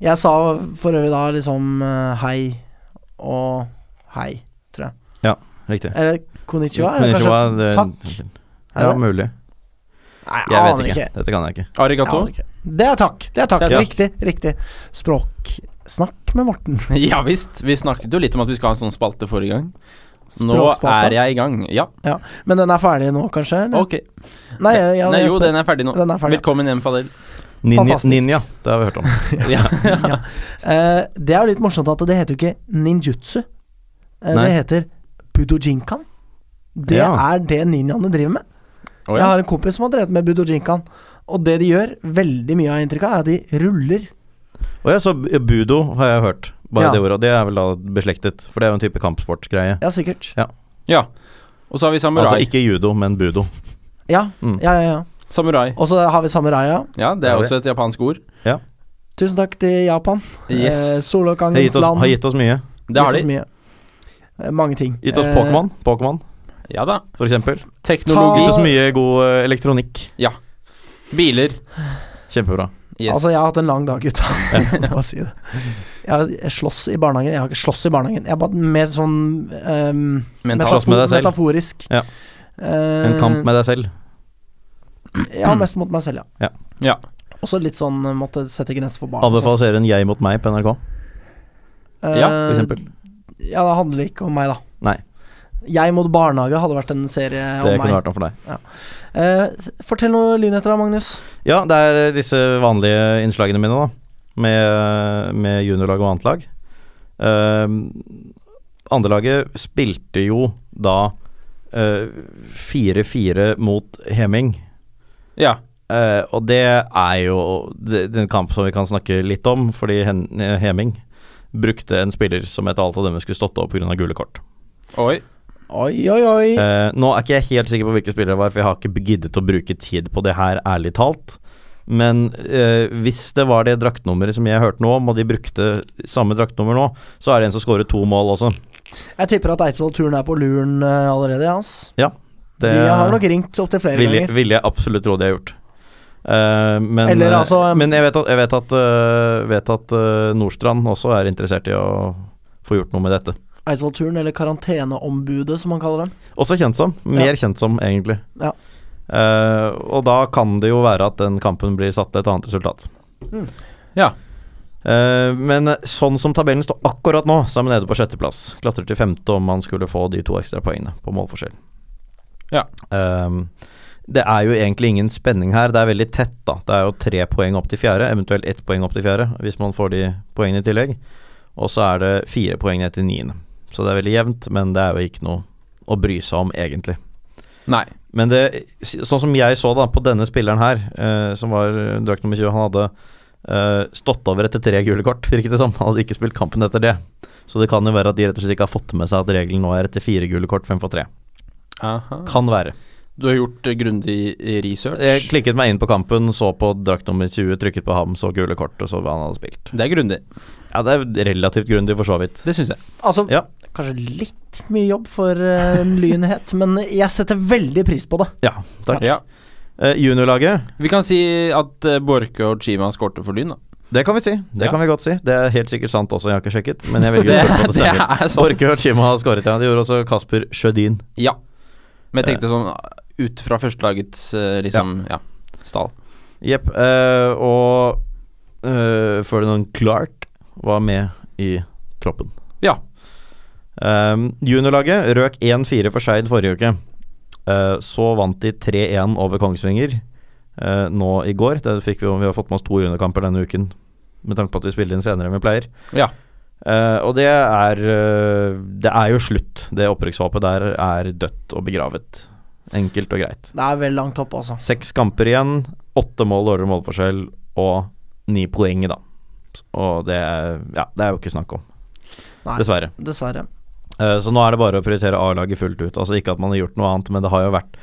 [SPEAKER 2] Jeg sa for øvrig da liksom eh, hei og hei, tror jeg.
[SPEAKER 3] Riktig.
[SPEAKER 2] Eller konnichiwa, eller kanskje
[SPEAKER 3] Konnichiwa, det-
[SPEAKER 2] takk? Er
[SPEAKER 3] Ja,
[SPEAKER 2] det?
[SPEAKER 3] mulig.
[SPEAKER 2] Nei, jeg,
[SPEAKER 3] Jeg
[SPEAKER 2] aner
[SPEAKER 3] vet
[SPEAKER 2] ikke.
[SPEAKER 3] ikke. Dette kan jeg ikke.
[SPEAKER 2] Jeg
[SPEAKER 1] Arigato.
[SPEAKER 2] aner ikke. Det er takk. Det er takk.
[SPEAKER 1] Det er
[SPEAKER 2] Riktig. riktig Språksnakk med Morten.
[SPEAKER 1] <laughs> Ja visst. Vi snakket jo litt om at vi skal ha en sånn spalte forrige gang. Nå er
[SPEAKER 2] Språkspalta.
[SPEAKER 1] jeg i gang. Ja,
[SPEAKER 2] Men den er ferdig nå, kanskje? eller?
[SPEAKER 1] ok.
[SPEAKER 2] Mm. Nei, jeg, jeg,
[SPEAKER 1] Nei, jo,
[SPEAKER 2] jeg,
[SPEAKER 1] den er ferdig nå.
[SPEAKER 2] den er ferdig.
[SPEAKER 1] Velkommen hjem,
[SPEAKER 2] <laughs>
[SPEAKER 1] Fadel.
[SPEAKER 3] Ninja,
[SPEAKER 2] Fantastisk.
[SPEAKER 3] ninja, det har vi hørt om.
[SPEAKER 1] Ja.
[SPEAKER 2] ja. Eh, det er jo litt morsomt at det heter jo ikke ninjutsu. Eh, det
[SPEAKER 3] Nei.
[SPEAKER 2] heter budojinkan. Det
[SPEAKER 3] Ja.
[SPEAKER 2] er det ninjaene driver med.
[SPEAKER 1] Å,
[SPEAKER 2] Jeg
[SPEAKER 1] ja.
[SPEAKER 2] har en kompis som har drevet med budojinkan. Og det de gjør, veldig mye av inntrykket, er at de ruller.
[SPEAKER 3] Og ja, så bu- budo har jeg hørt. Bare
[SPEAKER 2] Ja.
[SPEAKER 3] det ordet. og Det er vel da beslektet, for det er jo en type kampsportgreie.
[SPEAKER 2] Ja, sikkert.
[SPEAKER 1] ja. Og så har vi samurai.
[SPEAKER 3] Altså ikke judo, men budo.
[SPEAKER 2] Ja,
[SPEAKER 3] Mm.
[SPEAKER 2] ja, ja. ja.
[SPEAKER 1] Samurai.
[SPEAKER 2] Og så har vi samuraia.
[SPEAKER 1] Ja, det
[SPEAKER 3] Ja,
[SPEAKER 1] er
[SPEAKER 3] det-
[SPEAKER 1] også et japansk ord.
[SPEAKER 2] Tusen takk til Japan. Eh,
[SPEAKER 1] Yes.
[SPEAKER 3] Det har
[SPEAKER 2] Solokangens
[SPEAKER 3] gitt oss,
[SPEAKER 2] land.
[SPEAKER 3] har gitt oss mye.
[SPEAKER 1] Det har
[SPEAKER 2] Gitt oss
[SPEAKER 1] de.
[SPEAKER 2] mye. Eh, Mange ting.
[SPEAKER 3] Gitt oss
[SPEAKER 2] Eh,
[SPEAKER 3] Pokémon, Pokémon
[SPEAKER 1] Ja da.
[SPEAKER 3] for eksempel.
[SPEAKER 1] Teknologi.
[SPEAKER 3] Gitt oss mye god eh, elektronikk.
[SPEAKER 1] Biler.
[SPEAKER 3] Kjempebra.
[SPEAKER 1] Yes.
[SPEAKER 2] Altså, jeg har hatt en lang dag, gutta. Jeg må si det. Jeg jeg slåss i barnehagen. Jeg har ikke slåss i barnehagen. Jeg er bare mer sånn ehm,
[SPEAKER 1] Mental.
[SPEAKER 3] Slåss med deg selv.
[SPEAKER 2] metaforisk. Eh,
[SPEAKER 3] Ja. En kamp med deg selv.
[SPEAKER 2] Ja, mest mot meg selv, ja.
[SPEAKER 3] Ja.
[SPEAKER 1] Ja.
[SPEAKER 2] Også litt sånn eh, måtte sette grenser for barn. og
[SPEAKER 3] Anbefaler serien Jeg mot meg på NRK,
[SPEAKER 2] sånn.
[SPEAKER 1] ja,
[SPEAKER 2] Eh,
[SPEAKER 3] for eksempel.
[SPEAKER 2] Ja, det handler ikke om meg, da.
[SPEAKER 3] Nei.
[SPEAKER 2] Jeg mot barnehage hadde vært en serie
[SPEAKER 3] Det
[SPEAKER 2] om
[SPEAKER 3] kunne
[SPEAKER 2] meg.
[SPEAKER 3] vært noe for deg.
[SPEAKER 2] Eh, s- fortell noe lynheter da, Magnus.
[SPEAKER 3] Ja, det er eh, disse vanlige innslagene mine, da. Med, eh, med juniorlag og annetlag. Um, Andrelaget spilte jo da eh, 4-4 mot Heming.
[SPEAKER 1] Ja.
[SPEAKER 3] Eh, og det er jo det, det er en kamp som vi kan snakke litt om, fordi Hen eh, Heming brukte en spiller som etter alt å dømme skulle stått opp pga. gule kort.
[SPEAKER 1] Oi.
[SPEAKER 2] Oi, oi, oi.
[SPEAKER 3] Eh, nå er ikke jeg helt sikker på hvilke spillere det var, for jeg har ikke giddet å bruke tid på det her, ærlig talt. Men eh, hvis det var det draktnummeret som jeg hørte noe om, og de brukte samme draktnummer nå, så er det en som scorer to mål også.
[SPEAKER 2] Jeg tipper at Eidsvoll Turen er på luren eh, allerede, ja, ass.
[SPEAKER 3] Det
[SPEAKER 2] De har nok ringt opptil flere
[SPEAKER 3] ville
[SPEAKER 2] ganger.
[SPEAKER 3] vil jeg absolutt råd jeg har gjort. Eh, men,
[SPEAKER 2] Eller altså-
[SPEAKER 3] men jeg vet at, jeg vet at, eh, vet at eh, Nordstrand også er interessert i å få gjort noe med dette.
[SPEAKER 2] Eidsvoll Turen, eller Karanteneombudet, som man kaller dem.
[SPEAKER 3] Også kjent som. Mer kjent som, egentlig.
[SPEAKER 2] Ja.
[SPEAKER 3] Eh, og da kan det jo være at den kampen blir satt til et annet resultat.
[SPEAKER 2] Mm.
[SPEAKER 1] Ja.
[SPEAKER 3] Eh, men sånn som tabellen står akkurat nå, så er vi nede på sjetteplass. Klatrer til femte om man skulle få de to ekstrapoengene på målforskjell.
[SPEAKER 1] Ja.
[SPEAKER 3] Eh, det er jo egentlig ingen spenning her. Det er veldig tett, da. Det er jo tre poeng opp til fjerde, eventuelt ett poeng opp til fjerde, hvis man får de poengene i tillegg. Og så er det fire poeng ned til niende. Så det er veldig jevnt, men det er jo ikke noe å bry seg om, egentlig.
[SPEAKER 1] Nei.
[SPEAKER 3] Men det, sånn som jeg så da på denne spilleren her, eh, som var eh, drakt nummer 20, han hadde eh, stått over etter tre gule kort, virket det som. Han hadde ikke spilt kampen etter det. Så det kan jo være at de rett og slett ikke har fått med seg at regelen nå er etter fire gule kort fremfor tre.
[SPEAKER 1] Aha.
[SPEAKER 3] Kan være.
[SPEAKER 1] Du har gjort eh, grundig
[SPEAKER 2] Eh,
[SPEAKER 3] Jeg
[SPEAKER 1] research.
[SPEAKER 3] klikket meg inn på kampen, så på drakt nummer 20, trykket på ham, så gule kort, og så hva han hadde spilt.
[SPEAKER 1] Det er grundig.
[SPEAKER 3] Ja, det er relativt grundig, for så vidt.
[SPEAKER 1] Det syns jeg.
[SPEAKER 2] Altså,
[SPEAKER 3] Ja.
[SPEAKER 2] kanskje litt mye jobb for eh, en lynhet, men jeg setter veldig pris på det.
[SPEAKER 3] Ja, takk.
[SPEAKER 1] Ja.
[SPEAKER 3] Eh, juniorlaget,
[SPEAKER 1] Vi kan si at eh, Borke og Chima skårte for Lyn, da.
[SPEAKER 3] det kan vi si. Det
[SPEAKER 1] Ja.
[SPEAKER 3] kan vi godt si. Det er helt sikkert sant også, jeg har ikke sjekket, men
[SPEAKER 1] <laughs>
[SPEAKER 3] jeg velger
[SPEAKER 1] Det,
[SPEAKER 3] å tro på at det
[SPEAKER 1] det
[SPEAKER 3] stemmer.
[SPEAKER 1] er sant.
[SPEAKER 3] Borchgrevink og Chima har skåret, ja. Det gjorde også Kasper Sjødin.
[SPEAKER 1] Ja. Men jeg tenkte sånn ut fra førstelagets eh, liksom, ja. stall.
[SPEAKER 3] Jepp. eh, og uh, Ferdinand Clark var med i troppen.
[SPEAKER 1] Ja.
[SPEAKER 3] Ehm, juniorlaget røk 1-4 for Skeid forrige uke. Eh, så vant de 3-1 over Kongsvinger eh, nå i går. Det fikk vi, jo- vi har fått med oss to juniorkamper denne uken, med tanke på at vi spiller inn senere enn vi pleier.
[SPEAKER 1] Ja.
[SPEAKER 3] Eh, og det er eh, Det er jo slutt. Det opprykkshåpet der er dødt og begravet. Enkelt og greit.
[SPEAKER 2] Det er vel langt oppe, altså.
[SPEAKER 3] Seks kamper igjen, åtte mål dårligere målforskjell og ni poeng, da. Og det er, ja, det er jo ikke snakk om,
[SPEAKER 2] Nei.
[SPEAKER 3] dessverre.
[SPEAKER 2] Dessverre.
[SPEAKER 3] Eh, Så nå er det bare å prioritere A-laget fullt ut. Altså Ikke at man har gjort noe annet, men det har jo vært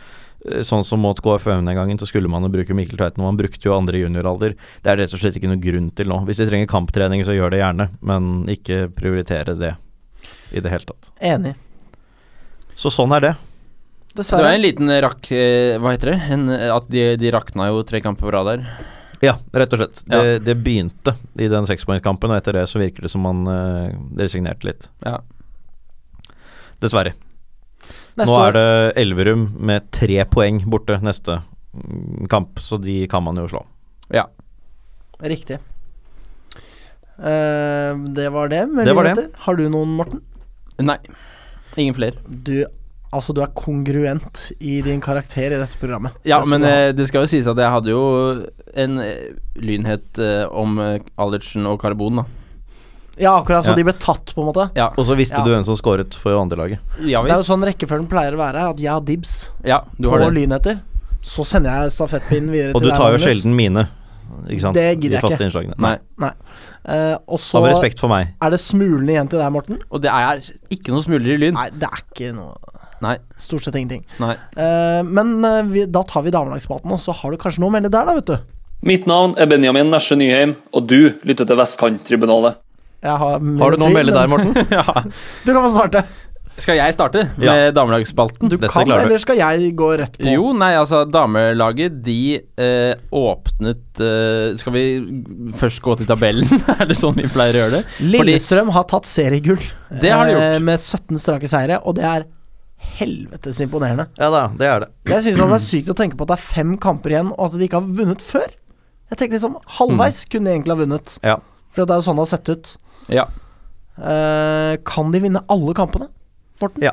[SPEAKER 3] eh, Sånn som mot KFUM den gangen, så skulle man jo bruke Mikkel Tveiten. og Man brukte jo andre i junioralder. Det er rett og slett ikke noe grunn til nå. Hvis de trenger kamptrening, så gjør det gjerne, men ikke prioritere det i det hele tatt.
[SPEAKER 2] Enig.
[SPEAKER 3] Så sånn er det.
[SPEAKER 1] Det var
[SPEAKER 2] Dessverre.
[SPEAKER 1] en liten rakk... eh, Hva heter det? En, at de, de rakna jo tre kamper på rad der.
[SPEAKER 3] Ja, rett og slett. Det,
[SPEAKER 1] Ja.
[SPEAKER 3] det begynte i den sekspoengskampen, og etter det så virker det som man eh, resignerte litt.
[SPEAKER 1] Ja.
[SPEAKER 3] Dessverre.
[SPEAKER 2] Neste
[SPEAKER 3] Nå er
[SPEAKER 2] år.
[SPEAKER 3] det Elverum med tre poeng borte neste mm, kamp, så de kan man jo slå.
[SPEAKER 2] Riktig. Eh, det var det. med
[SPEAKER 3] Det var det.
[SPEAKER 2] nyheter. Har du noen, Morten?
[SPEAKER 1] Nei. Ingen flere.
[SPEAKER 2] Du, altså, du er kongruent i din karakter i dette programmet.
[SPEAKER 1] Ja,
[SPEAKER 2] Det skal
[SPEAKER 1] men
[SPEAKER 2] du ha.
[SPEAKER 1] eh, det skal jo sies at jeg hadde jo en eh, lynhet eh, om eh, Allertsen og Karbon, da.
[SPEAKER 2] Ja, akkurat. Så
[SPEAKER 3] Ja.
[SPEAKER 2] de ble tatt, på en måte.
[SPEAKER 1] Ja,
[SPEAKER 3] Og så visste
[SPEAKER 2] Ja.
[SPEAKER 3] du hvem som skåret for andrelaget.
[SPEAKER 1] ja
[SPEAKER 2] Det er jo sånn rekkefølgen pleier å være, at jeg har dibs
[SPEAKER 1] Ja, du
[SPEAKER 2] på
[SPEAKER 1] har det.
[SPEAKER 2] lynheter. Så sender jeg stafettpinnen videre
[SPEAKER 3] Og
[SPEAKER 2] til
[SPEAKER 3] du
[SPEAKER 2] deg,
[SPEAKER 3] tar jo
[SPEAKER 2] Magnus.
[SPEAKER 3] sjelden mine, ikke sant?
[SPEAKER 2] Det gidder jeg
[SPEAKER 3] De faste
[SPEAKER 2] ikke.
[SPEAKER 3] innslagene.
[SPEAKER 1] Nei.
[SPEAKER 2] Eh, og så
[SPEAKER 3] Av respekt for meg.
[SPEAKER 2] er det smulene igjen til deg, Morten.
[SPEAKER 1] Og det er ikke noe smuler i Lyn.
[SPEAKER 2] Nei, det er ikke noe
[SPEAKER 1] Nei.
[SPEAKER 2] Stort sett ingenting.
[SPEAKER 1] Nei.
[SPEAKER 2] Eh, men eh, vi, da tar vi damelagspraten, og så har du kanskje noe å melde der, da, vet du.
[SPEAKER 4] Mitt navn er Benjamin Nesje Nyheim, og du lytter til Vestkanttribunalet.
[SPEAKER 2] Jeg har,
[SPEAKER 3] Har du noe å melde
[SPEAKER 2] <laughs>
[SPEAKER 3] der, Morten?
[SPEAKER 1] <laughs> Ja.
[SPEAKER 2] Du kan få starte.
[SPEAKER 1] Skal jeg starte med
[SPEAKER 3] Ja.
[SPEAKER 1] damelagsspalten?
[SPEAKER 2] Du
[SPEAKER 3] Dette
[SPEAKER 2] kan,
[SPEAKER 3] klarer du.
[SPEAKER 2] eller skal jeg gå rett på?
[SPEAKER 1] Jo, nei, altså damelaget de eh, åpnet eh, Skal vi først gå til tabellen? <laughs> er det sånn vi pleier å gjøre det?
[SPEAKER 2] Lillestrøm har tatt seriegull
[SPEAKER 1] Det har de
[SPEAKER 2] eh,
[SPEAKER 1] gjort.
[SPEAKER 2] med 17 strake seire, og det er helvetes imponerende.
[SPEAKER 3] Ja da, det er det.
[SPEAKER 2] Jeg syns det er sykt å tenke på at det er fem kamper igjen, og at de ikke har vunnet før. Jeg tenker liksom Halvveis kunne de egentlig ha vunnet,
[SPEAKER 3] Mm. Ja.
[SPEAKER 2] for det er jo sånn det har sett ut.
[SPEAKER 1] Ja.
[SPEAKER 2] Eh, kan de vinne alle kampene? Morten?
[SPEAKER 3] Ja.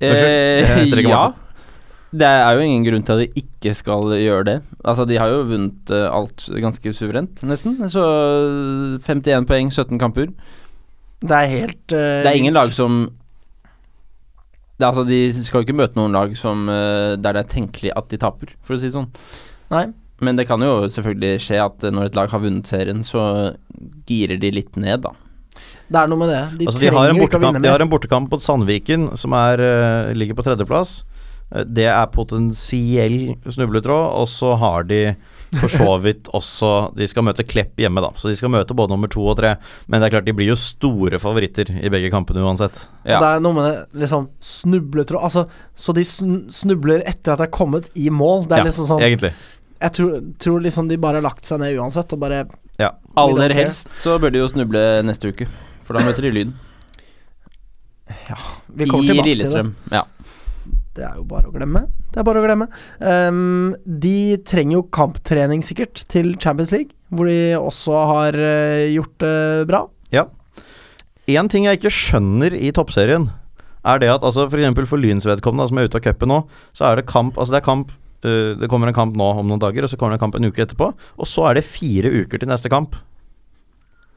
[SPEAKER 3] Unnskyld, jeg heter
[SPEAKER 1] Eh,
[SPEAKER 3] ikke
[SPEAKER 1] ja.
[SPEAKER 3] Morten.
[SPEAKER 1] Det er jo ingen grunn til at de ikke skal gjøre det. Altså, de har jo vunnet eh, alt ganske suverent, nesten. Så 51 poeng, 17 kamper.
[SPEAKER 2] Det er helt eh,
[SPEAKER 1] Det er ingen lag som det, er Altså, de skal jo ikke møte noen lag som eh, der det er tenkelig at de taper, for å si det sånn.
[SPEAKER 2] Nei.
[SPEAKER 1] Men det kan jo selvfølgelig skje at eh, når et lag har vunnet serien, så girer de litt ned, da.
[SPEAKER 2] Det er noe med det. De
[SPEAKER 3] altså, de har,
[SPEAKER 2] trenger
[SPEAKER 3] en
[SPEAKER 2] jo ikke å
[SPEAKER 3] bortekamp,
[SPEAKER 2] vinne
[SPEAKER 3] de har
[SPEAKER 2] mer.
[SPEAKER 3] en bortekamp mot Sandviken, som er, eh, ligger på tredjeplass. Eh, Det er potensiell snubletråd, og så har de for
[SPEAKER 2] <laughs>
[SPEAKER 3] så vidt også De skal møte Klepp hjemme, da, så de skal møte både nummer to og tre. Men det er klart de blir jo store favoritter i begge kampene uansett.
[SPEAKER 1] Ja.
[SPEAKER 2] Det er noe med det liksom snubletråd Altså, så de sn- snubler etter at de er kommet i mål. Det er
[SPEAKER 3] Ja,
[SPEAKER 2] liksom sånn
[SPEAKER 3] Egentlig.
[SPEAKER 2] Jeg tror, tror liksom de bare har lagt seg ned uansett, og bare
[SPEAKER 1] Aller
[SPEAKER 2] Middag, ok.
[SPEAKER 1] helst så bør de jo snuble neste uke, for da møter de Lyn.
[SPEAKER 2] Vi kommer
[SPEAKER 1] I
[SPEAKER 2] tilbake til det.
[SPEAKER 1] Lillestrøm. Ja.
[SPEAKER 2] Det er jo bare å glemme. Det er bare å glemme. Ehm, de trenger jo kamptrening, sikkert, til Champions League, hvor de også har eh, gjort det bra.
[SPEAKER 3] Én ting jeg ikke skjønner i toppserien, er det at altså f.eks. for, eksempel for Lyns vedkommende, da, som er ute av cupen nå, så er det kamp Altså det er kamp øh, Det kommer en kamp nå om noen dager, og så kommer det en kamp en uke etterpå. Og så er det fire uker til neste kamp.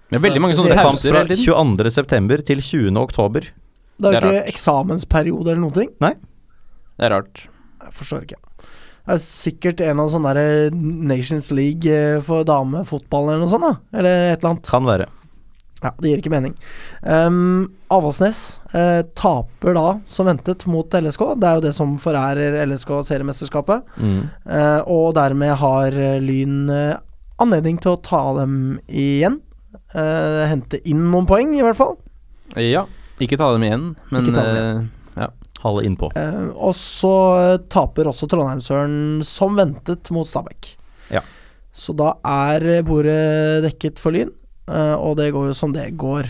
[SPEAKER 1] Det er veldig mange
[SPEAKER 3] Det
[SPEAKER 1] sånne
[SPEAKER 3] er kamp
[SPEAKER 1] pauser
[SPEAKER 3] fra
[SPEAKER 1] hele tiden.
[SPEAKER 3] 22.9. til 20.10.
[SPEAKER 2] Det er jo
[SPEAKER 1] Det er
[SPEAKER 2] ikke eksamensperiode eller noen ting.
[SPEAKER 1] Det er rart.
[SPEAKER 2] Jeg forstår ikke. Det er sikkert en av sånne der eh, Nations League eh, for damefotball eller noe sånt, da. Eller et eller annet.
[SPEAKER 3] Kan være.
[SPEAKER 2] Ja, det gir ikke mening. Um, Avaldsnes eh, taper da, som ventet, mot LSK. Det er jo det som forærer LSK seriemesterskapet.
[SPEAKER 3] Mm.
[SPEAKER 2] Eh, og dermed har eh, Lyn eh, anledning til å ta dem igjen. Eh, hente inn noen poeng, i hvert fall.
[SPEAKER 1] Ja. Ikke ta dem igjen, men
[SPEAKER 2] Ikke ta dem igjen.
[SPEAKER 1] eh,
[SPEAKER 3] Halve innpå.
[SPEAKER 2] Eh, og så eh, taper også Trondheimsøren, som ventet, mot Stabæk.
[SPEAKER 3] Ja.
[SPEAKER 2] Så da er eh, bordet dekket for Lyn, eh, og det går jo som det går.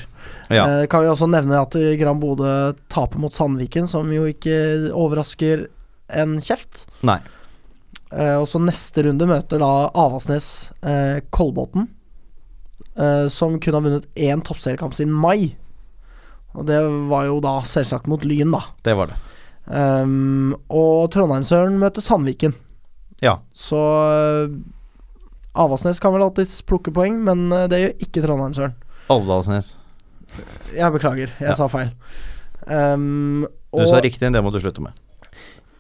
[SPEAKER 3] Ja.
[SPEAKER 2] Eh, kan vi også nevne at eh, Gran Bodø taper mot Sandviken, som jo ikke overrasker en kjeft.
[SPEAKER 3] Nei.
[SPEAKER 2] Eh, og så neste runde møter da Avaldsnes eh, Kolbotn, eh, som kunne ha vunnet én toppseriekamp siden mai. Og det var jo da selvsagt mot Lyn, da.
[SPEAKER 3] Det var det.
[SPEAKER 2] Ehm, og Trondheimsøren møter Sandviken.
[SPEAKER 3] Ja.
[SPEAKER 2] Så eh, Avaldsnes kan vel alltids plukke poeng, men eh, det gjør ikke Trondheimsøren.
[SPEAKER 3] Alvdalsnes.
[SPEAKER 2] Jeg beklager, jeg
[SPEAKER 3] Ja.
[SPEAKER 2] sa feil. Ehm,
[SPEAKER 3] Du sa riktig, det må du slutte med.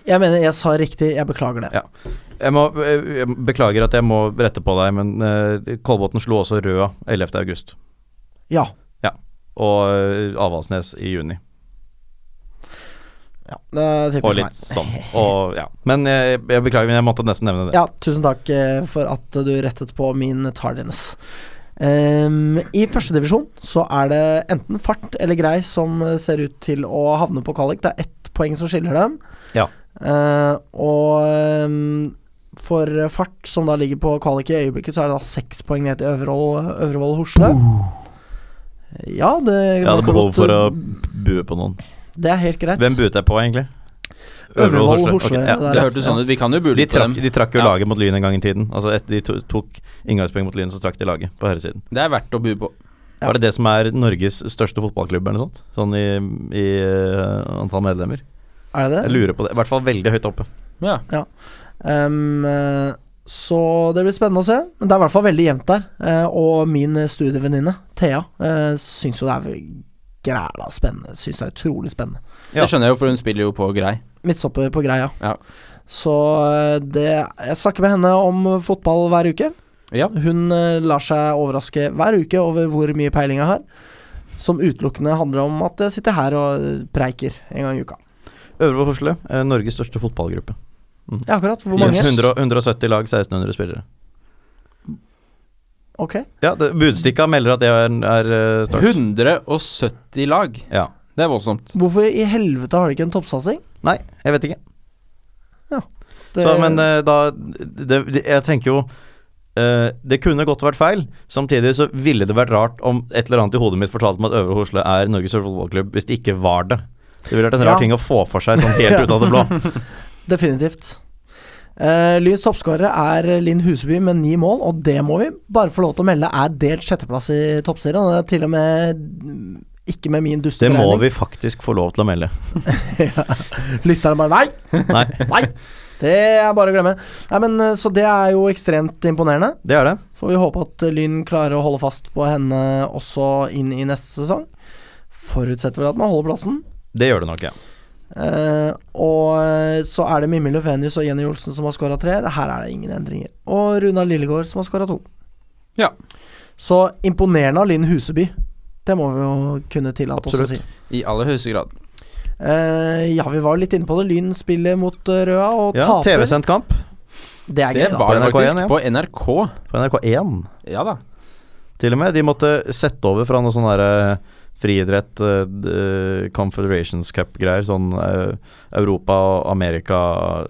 [SPEAKER 2] Jeg mener jeg sa riktig, jeg beklager det.
[SPEAKER 3] Ja. Jeg, må, eh, jeg beklager at jeg må rette på deg, men eh, Kolbotn slo også Røa 11. august.
[SPEAKER 2] Ja.
[SPEAKER 3] Og eh, Avaldsnes i juni.
[SPEAKER 2] Det er typisk
[SPEAKER 3] Og litt
[SPEAKER 2] meg.
[SPEAKER 3] sånn. Og, ja. Men jeg, jeg beklager, men jeg måtte nesten nevne det.
[SPEAKER 2] Ja, tusen takk eh, for at du rettet på min tardiness. Um, I førstedivisjon så er det enten fart eller grei som eh, ser ut til å havne på kvalik. Det er ett poeng som skiller dem.
[SPEAKER 3] Ja.
[SPEAKER 2] Eh, og ehm, for fart, som da ligger på kvalik i øyeblikket, så er det da seks poeng ned til Øvrevoll- Øvrevoll Horsle. Ja, det
[SPEAKER 3] Jeg hadde
[SPEAKER 2] man kan
[SPEAKER 3] behov
[SPEAKER 2] godt-
[SPEAKER 3] for å bue på noen.
[SPEAKER 2] Det er helt greit.
[SPEAKER 3] Hvem buet jeg på, egentlig?
[SPEAKER 2] Øvrevoll
[SPEAKER 3] Horsle.
[SPEAKER 2] Horsle.
[SPEAKER 3] Ok, ja.
[SPEAKER 2] det er
[SPEAKER 1] Det
[SPEAKER 2] rett.
[SPEAKER 1] hørtes sånn ut. Vi kan jo bule
[SPEAKER 3] De
[SPEAKER 1] på dem.
[SPEAKER 3] trakk, de trakk jo
[SPEAKER 1] Ja.
[SPEAKER 3] laget mot Lyn en gang i tiden. Altså etter de to, tok inngangspoeng mot Lyn, så trakk de laget på herresiden.
[SPEAKER 1] Det er verdt å bu på.
[SPEAKER 2] Ja.
[SPEAKER 3] Var det det som er Norges største fotballklubb, eller noe sånt? Sånn i, i eh, antall medlemmer?
[SPEAKER 2] Er det
[SPEAKER 3] Jeg
[SPEAKER 2] det?
[SPEAKER 3] lurer på det. I hvert fall veldig høyt oppe.
[SPEAKER 1] Ja.
[SPEAKER 2] Ehm, eh, så det blir spennende å se. Men det er i hvert fall veldig jevnt der. Eh, og min studievenninne Thea uh, syns jo det er græla spennende. Syns det er utrolig spennende.
[SPEAKER 3] Ja.
[SPEAKER 1] Det skjønner jeg jo, for hun spiller jo på grei.
[SPEAKER 2] Midtstopper på greia.
[SPEAKER 1] Ja.
[SPEAKER 2] Så eh, det Jeg snakker med henne om fotball hver uke.
[SPEAKER 1] Ja.
[SPEAKER 2] Hun eh, lar seg overraske hver uke over hvor mye peiling jeg har. Som utelukkende handler om at jeg sitter her og preiker en gang i uka.
[SPEAKER 3] Øvre Horsle, eh, Norges største fotballgruppe.
[SPEAKER 2] Ja, akkurat. Hvor mange?
[SPEAKER 1] Yes.
[SPEAKER 3] 100, 170 lag, 1600 spillere.
[SPEAKER 2] Ok.
[SPEAKER 3] Ja, det, Budstikka melder at det er, er eh, start.
[SPEAKER 1] 170 lag.
[SPEAKER 3] Ja.
[SPEAKER 1] Det er voldsomt.
[SPEAKER 2] Hvorfor i helvete har de ikke en toppsatsing?
[SPEAKER 3] Nei, jeg vet ikke.
[SPEAKER 2] Det-
[SPEAKER 3] Så, men eh, da det, det, Jeg tenker jo eh, Det kunne godt vært feil. Samtidig så ville det vært rart om et eller annet i hodet mitt fortalte meg at Øvre Hosle er Norges største fotballklubb, hvis det ikke var det. Det ville vært en
[SPEAKER 2] Ja.
[SPEAKER 3] rar ting å få for seg sånn helt ut
[SPEAKER 2] <laughs>
[SPEAKER 3] av det blå.
[SPEAKER 2] Definitivt. Uh, Lyns toppskårere er Linn Huseby med ni mål, og det må vi bare få lov til å melde er delt sjetteplass i toppserien. og Det er til og med mm, ikke med min
[SPEAKER 3] Det
[SPEAKER 2] <laughs>
[SPEAKER 3] må
[SPEAKER 2] dusteberegning.
[SPEAKER 3] vi faktisk få lov til å melde.
[SPEAKER 2] Lytterne bare Nei!
[SPEAKER 3] Nei,
[SPEAKER 2] Nei! Det er bare å glemme. Nei, men, eh, så det er jo ekstremt imponerende.
[SPEAKER 3] det er det.
[SPEAKER 2] Får vi håpe at Lyn klarer å holde fast på henne også inn i neste sesong. Forutsetter vel at man holder plassen.
[SPEAKER 3] Det gjør det nok, ja.
[SPEAKER 2] Eh, og eh, så er det Mimmi Løfenius og Jenny Olsen som har skåra tre. Her er det ingen endringer. Og Runar Lillegård som har skåra to.
[SPEAKER 1] Ja.
[SPEAKER 2] Så imponerende av Linn Huseby. Det må vi jo kunne tillate oss å
[SPEAKER 3] Absolutt.
[SPEAKER 2] si.
[SPEAKER 1] I aller høyeste grad.
[SPEAKER 2] Eh, ja, vi var jo litt inne på det. Lyn spiller mot eh, Røa og
[SPEAKER 3] ja
[SPEAKER 2] taper.
[SPEAKER 3] TV-sendt kamp
[SPEAKER 2] Det er gøy,
[SPEAKER 1] Det
[SPEAKER 2] da.
[SPEAKER 1] var det
[SPEAKER 3] NRK1,
[SPEAKER 1] faktisk
[SPEAKER 3] ja.
[SPEAKER 1] på NRK.
[SPEAKER 3] på NRK1,
[SPEAKER 1] Ja da.
[SPEAKER 3] til og med. De måtte sette over fra noe sånn derre friidrett, eh, d- Confederations Cup-greier. Sånn eh, Europa, Amerika,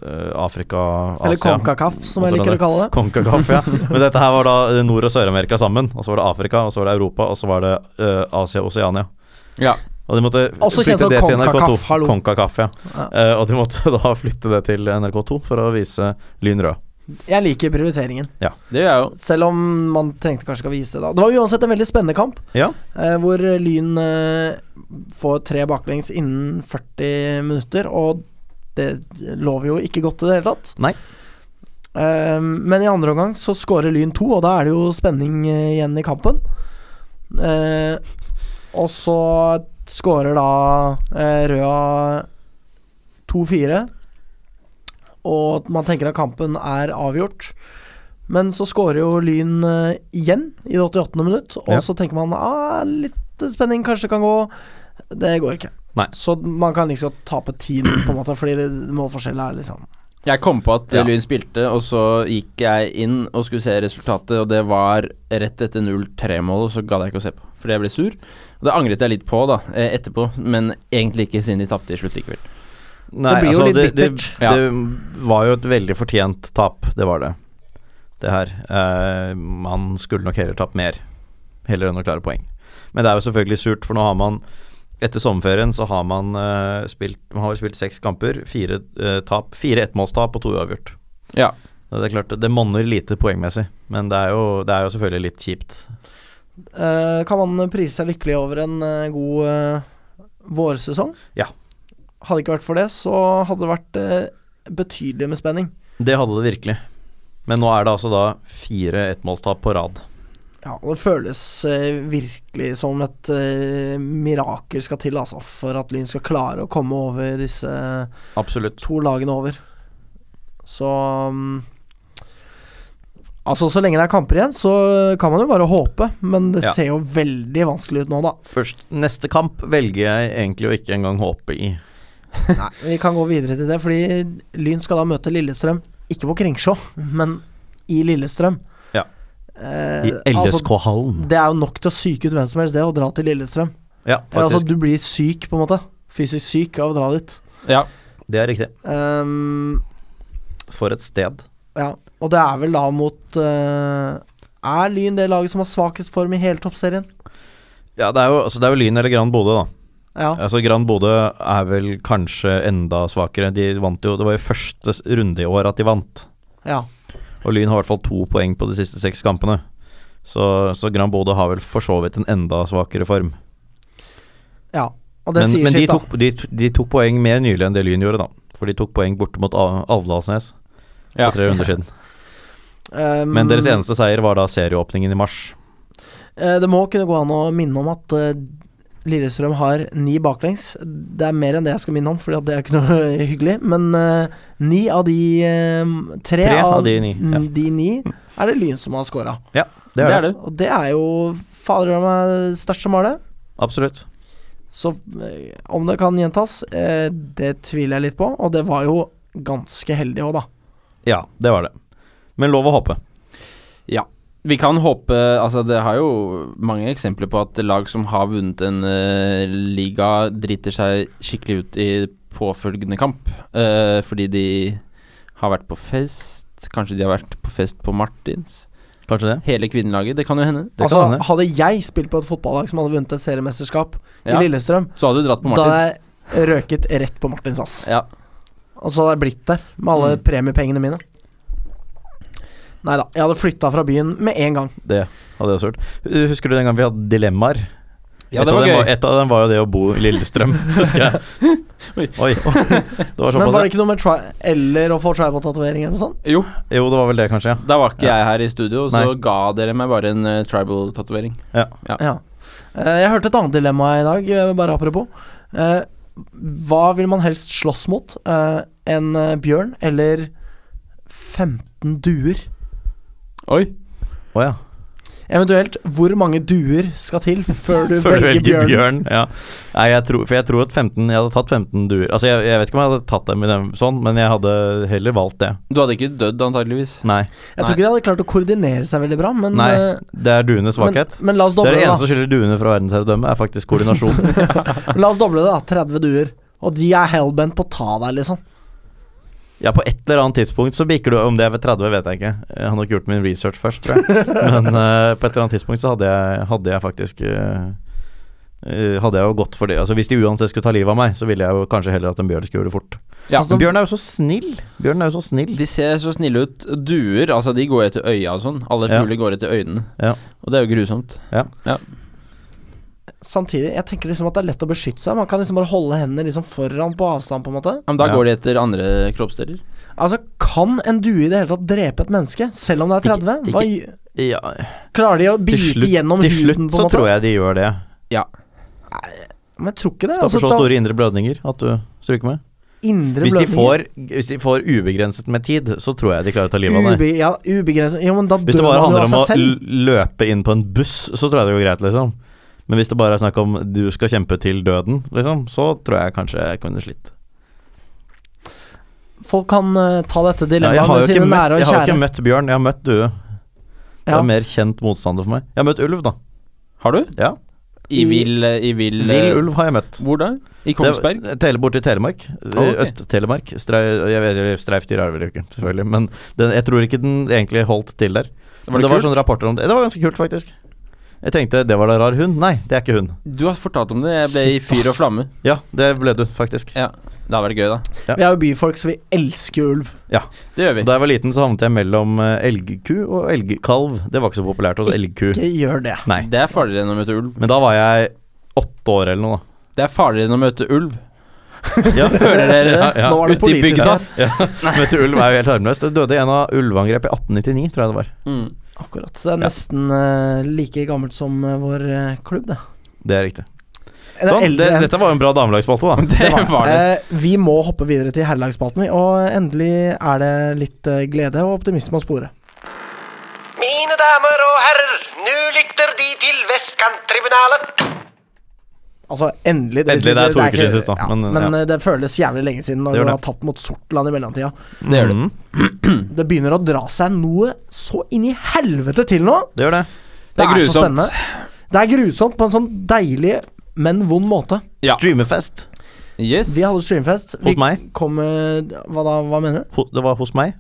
[SPEAKER 3] eh, Afrika, Asia.
[SPEAKER 2] Eller Konkakaf, som jeg liker
[SPEAKER 3] Måtte det.
[SPEAKER 2] å kalle
[SPEAKER 3] <laughs>
[SPEAKER 2] det.
[SPEAKER 3] Konkakaf, ja. Men dette her var da eh, Nord- og Sør-Amerika sammen. Og så var det Afrika, og så var det Europa, og så var det eh, Asia og Oseania.
[SPEAKER 1] Ja.
[SPEAKER 3] Og de måtte
[SPEAKER 2] Også kjent som
[SPEAKER 3] flytte det til
[SPEAKER 2] Konkakaf,
[SPEAKER 3] NRK2.
[SPEAKER 2] hallo.
[SPEAKER 3] Konkakaf, ja.
[SPEAKER 2] Ja.
[SPEAKER 3] Eh, og de måtte <laughs> da flytte det til NRK2 for å vise Lyn rød.
[SPEAKER 2] Jeg liker prioriteringen.
[SPEAKER 1] Det gjør jeg jo.
[SPEAKER 2] Selv om man trengte kanskje ikke å vise det da. Det var uansett en veldig spennende kamp.
[SPEAKER 3] Ja,
[SPEAKER 2] Eh, hvor Lyn eh, får tre baklengs innen 40 minutter, og det lover jo ikke godt i det hele tatt.
[SPEAKER 3] Nei.
[SPEAKER 2] Eh, men i andre omgang så scorer Lyn to, og da er det jo spenning eh, igjen i kampen. Eh, og så scorer da eh, Røa 2-4, og man tenker at kampen er avgjort. Men så scorer jo Lyn eh, igjen i det 88. minutt, og
[SPEAKER 3] Ja.
[SPEAKER 2] så tenker man ah, litt spenning kanskje kan gå. Det går ikke.
[SPEAKER 3] Nei.
[SPEAKER 2] Så man kan liksom tape 10-0, på en måte, fordi det- målforskjellen er liksom
[SPEAKER 1] Jeg kom på at
[SPEAKER 3] Ja.
[SPEAKER 1] Lyn spilte, og så gikk jeg inn og skulle se resultatet, og det var rett etter 0-3-målet, så gadd jeg ikke å se på, fordi jeg ble sur. Og det angret jeg litt på, da, eh, etterpå, men egentlig ikke siden de tapte i slutt likevel.
[SPEAKER 3] Nei,
[SPEAKER 2] Det blir jo
[SPEAKER 3] altså,
[SPEAKER 2] litt
[SPEAKER 3] det,
[SPEAKER 2] bittert.
[SPEAKER 1] Ja.
[SPEAKER 3] det, det var jo et veldig fortjent tap, det var det. Det her. Eh, man skulle nok heller tapt mer, heller enn å klare poeng. Men det er jo selvfølgelig surt, for nå har man etter sommerferien så har man eh, spilt Man har spilt seks kamper, fire eh, tap, fire ettmålstap og to uavgjort.
[SPEAKER 1] Ja.
[SPEAKER 3] Det er klart, det monner lite poengmessig, men det er jo, det er jo selvfølgelig litt kjipt.
[SPEAKER 2] Eh, kan man prise seg lykkelig over en eh, god eh, vårsesong?
[SPEAKER 3] Ja.
[SPEAKER 2] Hadde det ikke vært for det, så hadde det vært eh, betydelig med spenning.
[SPEAKER 3] Det hadde det virkelig. Men nå er det altså da fire ettmålstap på rad.
[SPEAKER 2] Ja, og det føles eh, virkelig som et eh, mirakel skal til, altså, for at Lyn skal klare å komme over disse
[SPEAKER 3] Absolutt.
[SPEAKER 2] to lagene over. Så mm, Altså, så lenge det er kamper igjen, så kan man jo bare håpe, men det
[SPEAKER 3] Ja.
[SPEAKER 2] ser jo veldig vanskelig ut nå, da.
[SPEAKER 3] Først neste kamp velger jeg egentlig å ikke engang håpe i.
[SPEAKER 2] Nei, <laughs> vi kan gå videre til det, fordi Lyn skal da møte Lillestrøm, ikke på Kringsjå, men i Lillestrøm.
[SPEAKER 3] Ja.
[SPEAKER 2] Eh,
[SPEAKER 3] I
[SPEAKER 2] altså,
[SPEAKER 3] LSK-hallen.
[SPEAKER 2] det er jo nok til å syke ut hvem som helst, det, å dra til Lillestrøm.
[SPEAKER 3] Ja,
[SPEAKER 2] Eller, altså,
[SPEAKER 3] faktisk.
[SPEAKER 2] du blir syk, på en måte. Fysisk syk av å dra dit.
[SPEAKER 1] Ja.
[SPEAKER 3] Det er riktig.
[SPEAKER 2] Ehm,
[SPEAKER 3] For et sted.
[SPEAKER 2] ja, og det er vel da mot eh, Er Lyn det laget som har svakest form i hele Toppserien?
[SPEAKER 3] Ja, det er jo, altså, det er jo Lyn eller Grand Bodø, da.
[SPEAKER 2] Ja.
[SPEAKER 3] Altså Grand Bodø er vel kanskje enda svakere. De vant jo, Det var jo første s- runde i år at de vant.
[SPEAKER 2] ja.
[SPEAKER 3] Og Lyn har i hvert fall to poeng på de siste seks kampene. Så, så Grand Bodø har vel for så vidt en enda svakere form.
[SPEAKER 2] ja. Og det
[SPEAKER 3] Men,
[SPEAKER 2] sier
[SPEAKER 3] men de,
[SPEAKER 2] sitt,
[SPEAKER 3] tok, de, to- de tok poeng mer nylig enn det Lyn gjorde, da. For de tok poeng borte mot A- Avdalsnes
[SPEAKER 1] Ja.
[SPEAKER 3] for tre runder siden.
[SPEAKER 2] da. Ehm,
[SPEAKER 3] Men deres eneste seier var da serieåpningen i mars.
[SPEAKER 2] Eh, Det må kunne gå an å minne om at eh, Lillestrøm har ni baklengs. Det er mer enn det jeg skal minne om, for det er ikke noe <laughs> hyggelig. Men eh, ni av de eh, tre,
[SPEAKER 3] Tre av de ni, ja.
[SPEAKER 2] de ni er det Lyn som har scora.
[SPEAKER 1] Det er det.
[SPEAKER 2] Og det er jo fader av meg sterkt som har det.
[SPEAKER 3] Absolutt.
[SPEAKER 2] Så eh, om det kan gjentas, eh, det tviler jeg litt på. Og det var jo ganske heldig òg, da.
[SPEAKER 3] Ja, det var det. Men lov å håpe.
[SPEAKER 1] Vi kan håpe Altså, det har jo mange eksempler på at lag som har vunnet en eh, liga, driter seg skikkelig ut i påfølgende kamp. eh, fordi de har vært på fest. Kanskje de har vært på fest på Martins.
[SPEAKER 3] Kanskje det.
[SPEAKER 1] Hele kvinnelaget. Det kan jo hende.
[SPEAKER 3] Det
[SPEAKER 2] Altså,
[SPEAKER 3] kan hende.
[SPEAKER 2] hadde jeg spilt på et fotballag som hadde vunnet et seriemesterskap
[SPEAKER 1] Ja.
[SPEAKER 2] i Lillestrøm,
[SPEAKER 1] Så hadde du dratt på
[SPEAKER 2] da hadde
[SPEAKER 1] Martins.
[SPEAKER 2] jeg røket rett på Martins, ass.
[SPEAKER 1] Ja.
[SPEAKER 2] Og så hadde jeg blitt der med alle
[SPEAKER 1] Mm.
[SPEAKER 2] premiepengene mine. Nei da, jeg hadde flytta fra byen med en gang.
[SPEAKER 3] Det hadde jeg også hørt. Husker du den gangen vi hadde dilemmaer?
[SPEAKER 1] ja,
[SPEAKER 3] et,
[SPEAKER 1] det
[SPEAKER 3] av
[SPEAKER 1] var
[SPEAKER 3] dem
[SPEAKER 1] gøy.
[SPEAKER 3] var, et av dem var jo det å bo i Lillestrøm, husker jeg. Oi. Det var
[SPEAKER 2] Men
[SPEAKER 3] såpass,
[SPEAKER 2] var det
[SPEAKER 3] ja.
[SPEAKER 2] ikke noe med tri eller å få tribal-tatovering eller noe sånt?
[SPEAKER 1] Jo,
[SPEAKER 3] Jo, det var vel det, kanskje. ja
[SPEAKER 1] da var ikke jeg her i studio, så
[SPEAKER 3] Nei.
[SPEAKER 1] ga dere meg bare en eh, tribal-tatovering.
[SPEAKER 2] Ja. Eh, Jeg hørte et annet dilemma i dag, eh, bare apropos. Eh, Hva vil man helst slåss mot? Eh, En eh, bjørn eller 15 duer?
[SPEAKER 1] Oi.
[SPEAKER 3] Å ja.
[SPEAKER 2] Eventuelt, hvor mange duer skal til før du
[SPEAKER 3] <laughs> Før du
[SPEAKER 2] velger
[SPEAKER 3] velger
[SPEAKER 2] bjørn?
[SPEAKER 3] bjørn. Ja. Nei, jeg tror, for jeg tror at 15 Jeg hadde tatt 15 duer. Altså, jeg, jeg vet ikke om jeg hadde tatt dem i den sånn, men jeg hadde heller valgt det.
[SPEAKER 1] Du hadde ikke dødd, antageligvis.
[SPEAKER 3] Nei.
[SPEAKER 2] Jeg tror ikke de hadde klart å koordinere seg veldig bra, men,
[SPEAKER 3] Nei,
[SPEAKER 2] eh,
[SPEAKER 3] det er duenes
[SPEAKER 2] men,
[SPEAKER 3] svakhet.
[SPEAKER 2] men la oss
[SPEAKER 3] Det
[SPEAKER 2] doble
[SPEAKER 3] er
[SPEAKER 2] det,
[SPEAKER 3] det
[SPEAKER 2] da.
[SPEAKER 3] eneste som skiller duene fra verdensherredømmet, er faktisk koordinasjon.
[SPEAKER 2] Men La oss doble det, da. 30 duer. Og de er hellbent på å ta deg, liksom.
[SPEAKER 3] ja, på et eller annet tidspunkt så bikker du Om det er ved 30, vet jeg ikke. Jeg har nok gjort min research først,
[SPEAKER 2] <laughs>
[SPEAKER 3] tror jeg. Men eh, på et eller annet tidspunkt så hadde jeg, hadde jeg faktisk eh, eh, hadde jeg jo gått for det. Altså Hvis de uansett skulle ta livet av meg, så ville jeg jo kanskje heller at en bjørn skulle gjøre det fort.
[SPEAKER 1] Ja.
[SPEAKER 3] Men bjørn er jo så snill! Bjørn er jo så snill.
[SPEAKER 1] De ser så snille ut. Duer, altså de går etter øya og sånn. Alle
[SPEAKER 3] Ja.
[SPEAKER 1] fugler går etter øynene.
[SPEAKER 3] Ja.
[SPEAKER 1] Og det er jo grusomt.
[SPEAKER 2] Samtidig, jeg tenker liksom at det er lett å beskytte seg. Man kan liksom bare holde hendene liksom foran på avstand, på en måte.
[SPEAKER 1] Ja, Men da
[SPEAKER 3] Ja.
[SPEAKER 1] går de etter andre kroppsdeler.
[SPEAKER 2] Altså, kan en due i det hele tatt drepe et menneske, selv om det er 30?
[SPEAKER 3] Ikke-
[SPEAKER 2] Hva gjør-
[SPEAKER 3] Ja,
[SPEAKER 2] klarer de å
[SPEAKER 3] til
[SPEAKER 2] bite
[SPEAKER 3] slutt,
[SPEAKER 2] gjennom
[SPEAKER 3] til slutt
[SPEAKER 2] huden, på en
[SPEAKER 3] så
[SPEAKER 2] måte?
[SPEAKER 3] tror jeg de gjør det.
[SPEAKER 2] Men jeg tror ikke det.
[SPEAKER 3] Skaffer
[SPEAKER 2] Altså,
[SPEAKER 3] så
[SPEAKER 2] da,
[SPEAKER 3] store indre blødninger at du stryker med.
[SPEAKER 2] indre
[SPEAKER 3] Hvis de,
[SPEAKER 2] blødninger-
[SPEAKER 3] får, hvis de får ubegrenset med tid, så tror jeg de klarer å ta
[SPEAKER 2] <clears throat>
[SPEAKER 3] livet av deg.
[SPEAKER 2] Ube, ja, ubegrenset Jo, men da dør
[SPEAKER 3] Hvis det
[SPEAKER 2] man
[SPEAKER 3] bare
[SPEAKER 2] jo
[SPEAKER 3] handler
[SPEAKER 2] av
[SPEAKER 3] om å
[SPEAKER 2] seg selv.
[SPEAKER 3] l- løpe inn på en buss, så tror jeg det går greit, liksom. Men hvis det bare er snakk om du skal kjempe til døden, liksom, så tror jeg kanskje jeg kunne slitt.
[SPEAKER 2] Folk kan eh, ta dette
[SPEAKER 3] Ja,
[SPEAKER 2] dilemmaet
[SPEAKER 3] jeg har
[SPEAKER 2] med
[SPEAKER 3] jo
[SPEAKER 2] sine
[SPEAKER 3] ikke møtt,
[SPEAKER 2] nære og
[SPEAKER 3] jeg har jo
[SPEAKER 2] kjære.
[SPEAKER 3] ikke møtt bjørn, jeg har møtt due. Det
[SPEAKER 2] Ja.
[SPEAKER 3] er mer kjent motstander for meg. Jeg har møtt ulv, da.
[SPEAKER 1] Har du?
[SPEAKER 3] Ja.
[SPEAKER 1] I vill I vill, eh,
[SPEAKER 3] Vill ulv har jeg møtt.
[SPEAKER 1] Hvor da? I Kongsberg?
[SPEAKER 3] Det- Tele, borte i Telemark.
[SPEAKER 1] ok.
[SPEAKER 3] Øst-Telemark. Streif, jeg vet, streifdyr er det vel ikke, selvfølgelig. Men den, jeg tror ikke den egentlig holdt til der.
[SPEAKER 1] Var
[SPEAKER 3] Men
[SPEAKER 1] det
[SPEAKER 3] det var
[SPEAKER 1] kult?
[SPEAKER 3] sånne rapporter om det. Det var ganske kult, faktisk. Jeg tenkte det var da rar hund. Nei, det er ikke hund.
[SPEAKER 1] Du har fortalt om det. Jeg ble i
[SPEAKER 3] sånn- Shit,
[SPEAKER 1] fyr og
[SPEAKER 3] ass.
[SPEAKER 1] flamme.
[SPEAKER 3] Ja, det ble du, faktisk.
[SPEAKER 1] Ja. Det hadde vært gøy, da.
[SPEAKER 3] Ja.
[SPEAKER 2] Vi er jo byfolk, så vi elsker jo ulv.
[SPEAKER 1] Det gjør vi.
[SPEAKER 3] Da jeg var liten, så havnet jeg mellom eh, elgku og elgkalv. Det var ikke så populært hos elgku.
[SPEAKER 2] Ikke gjør det.
[SPEAKER 3] Nei.
[SPEAKER 1] Det er farligere enn å møte ulv.
[SPEAKER 3] Men da var jeg åtte år eller noe,
[SPEAKER 1] Det er farligere enn å møte ulv.
[SPEAKER 3] da.
[SPEAKER 1] <laughs>
[SPEAKER 3] Ja.
[SPEAKER 1] Hører dere det?
[SPEAKER 3] Ja, ja.
[SPEAKER 2] Nå er det
[SPEAKER 1] Ute i
[SPEAKER 2] politisk
[SPEAKER 1] bygda.
[SPEAKER 2] her.
[SPEAKER 3] Møtte ulv er jo helt harmløst. Det døde i en av ulveangrep i 1899, tror jeg det var.
[SPEAKER 1] Mm.
[SPEAKER 2] Akkurat. Det er nesten eh, like gammelt som eh, vår eh, klubb, det.
[SPEAKER 3] Det er riktig.
[SPEAKER 2] Det er
[SPEAKER 3] Sånn,
[SPEAKER 2] eldre
[SPEAKER 3] det,
[SPEAKER 2] enn-
[SPEAKER 3] dette var jo en
[SPEAKER 2] <laughs>
[SPEAKER 3] bra damelagsspalte, da.
[SPEAKER 1] <laughs> <laughs> Det var det.
[SPEAKER 2] Eh, vi må hoppe videre til herrelagsspalten, vi. Og endelig er det litt eh, glede og optimisme å spore.
[SPEAKER 5] Mine damer og herrer, nå lytter De til Vestkanttribunalet.
[SPEAKER 2] Altså, endelig
[SPEAKER 3] Endelig, det er to
[SPEAKER 2] ikke-
[SPEAKER 3] uker siden sist da,
[SPEAKER 2] Ja, men
[SPEAKER 3] men, ja.
[SPEAKER 2] eh, det føles jævlig lenge siden når
[SPEAKER 3] Det gjør
[SPEAKER 2] vi har
[SPEAKER 3] det.
[SPEAKER 2] tatt mot Sortland i mellomtida.
[SPEAKER 1] Det gjør det.
[SPEAKER 3] Mhm.
[SPEAKER 2] Det begynner å dra seg noe så inn i helvete til nå.
[SPEAKER 3] Det gjør det.
[SPEAKER 1] Det er
[SPEAKER 2] så
[SPEAKER 1] grusomt.
[SPEAKER 2] spennende. Det er grusomt på en sånn deilig, men vond måte.
[SPEAKER 1] Ja.
[SPEAKER 3] Streamerfest. Eh,
[SPEAKER 1] Yes.
[SPEAKER 2] Vi hadde streamfest. Vi
[SPEAKER 3] Hos meg.
[SPEAKER 2] Kom med, hva da, hva mener du?
[SPEAKER 3] Ho- Det var hos meg.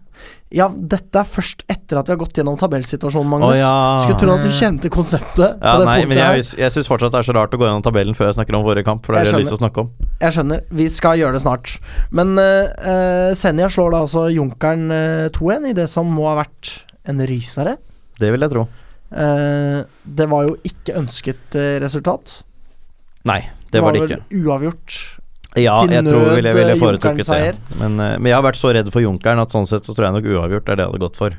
[SPEAKER 2] Ja, dette er først etter at vi har gått gjennom tabellsituasjonen, Magnus.
[SPEAKER 3] Å, ja.
[SPEAKER 2] Skulle tro at du kjente konseptet på
[SPEAKER 3] Ja,
[SPEAKER 2] det
[SPEAKER 3] nei,
[SPEAKER 2] punktet
[SPEAKER 3] men
[SPEAKER 2] her.
[SPEAKER 3] jeg, jeg syns fortsatt det er så rart å gå gjennom tabellen før jeg snakker om forrige kamp. For det
[SPEAKER 2] Jeg
[SPEAKER 3] er det jeg har lyst til å snakke om.
[SPEAKER 2] Jeg skjønner. Vi skal gjøre det snart. Men eh, eh, Senja slår da altså Junkeren eh, 2-1 i det som må ha vært en rysere.
[SPEAKER 3] Det vil jeg tro.
[SPEAKER 2] Eh, det var jo ikke ønsket eh, resultat.
[SPEAKER 3] Nei, det var det ikke.
[SPEAKER 2] vel uavgjort.
[SPEAKER 3] Ja,
[SPEAKER 2] til
[SPEAKER 3] jeg tror ville,
[SPEAKER 2] nød,
[SPEAKER 3] ville
[SPEAKER 2] eh,
[SPEAKER 3] foretrukket det.
[SPEAKER 2] Junkeren-seier.
[SPEAKER 3] Men, eh, men jeg har vært så redd for Junkeren at sånn sett så tror jeg nok uavgjort er det jeg hadde gått for.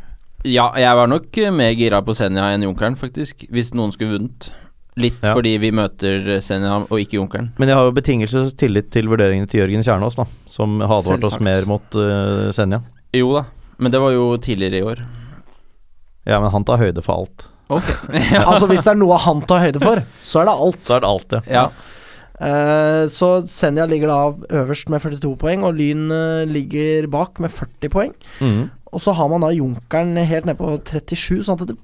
[SPEAKER 1] Ja, jeg var nok eh, mer gira på Senja enn Junkeren, faktisk. Hvis noen skulle vunnet. Litt
[SPEAKER 3] Ja.
[SPEAKER 1] fordi vi møter eh, Senja og ikke Junkeren.
[SPEAKER 3] Men jeg har jo betingelser og tillit til vurderingene til Jørgen Kjernås, da. Som har advart oss
[SPEAKER 1] Selvsagt.
[SPEAKER 3] mer mot eh, Senja.
[SPEAKER 1] Jo da, men det var jo tidligere i år.
[SPEAKER 3] Ja, men han tar høyde for alt.
[SPEAKER 1] Ok. <laughs> ja.
[SPEAKER 2] Altså, hvis det er noe han tar høyde for, så er det alt.
[SPEAKER 3] Så er det alt, ja.
[SPEAKER 1] ja.
[SPEAKER 2] Eh, så Senja ligger da øverst med 42 poeng, og Lyn eh, ligger bak med 40 poeng.
[SPEAKER 3] Mhm.
[SPEAKER 2] Og så har man da Junkeren helt ned på 37, sånn at det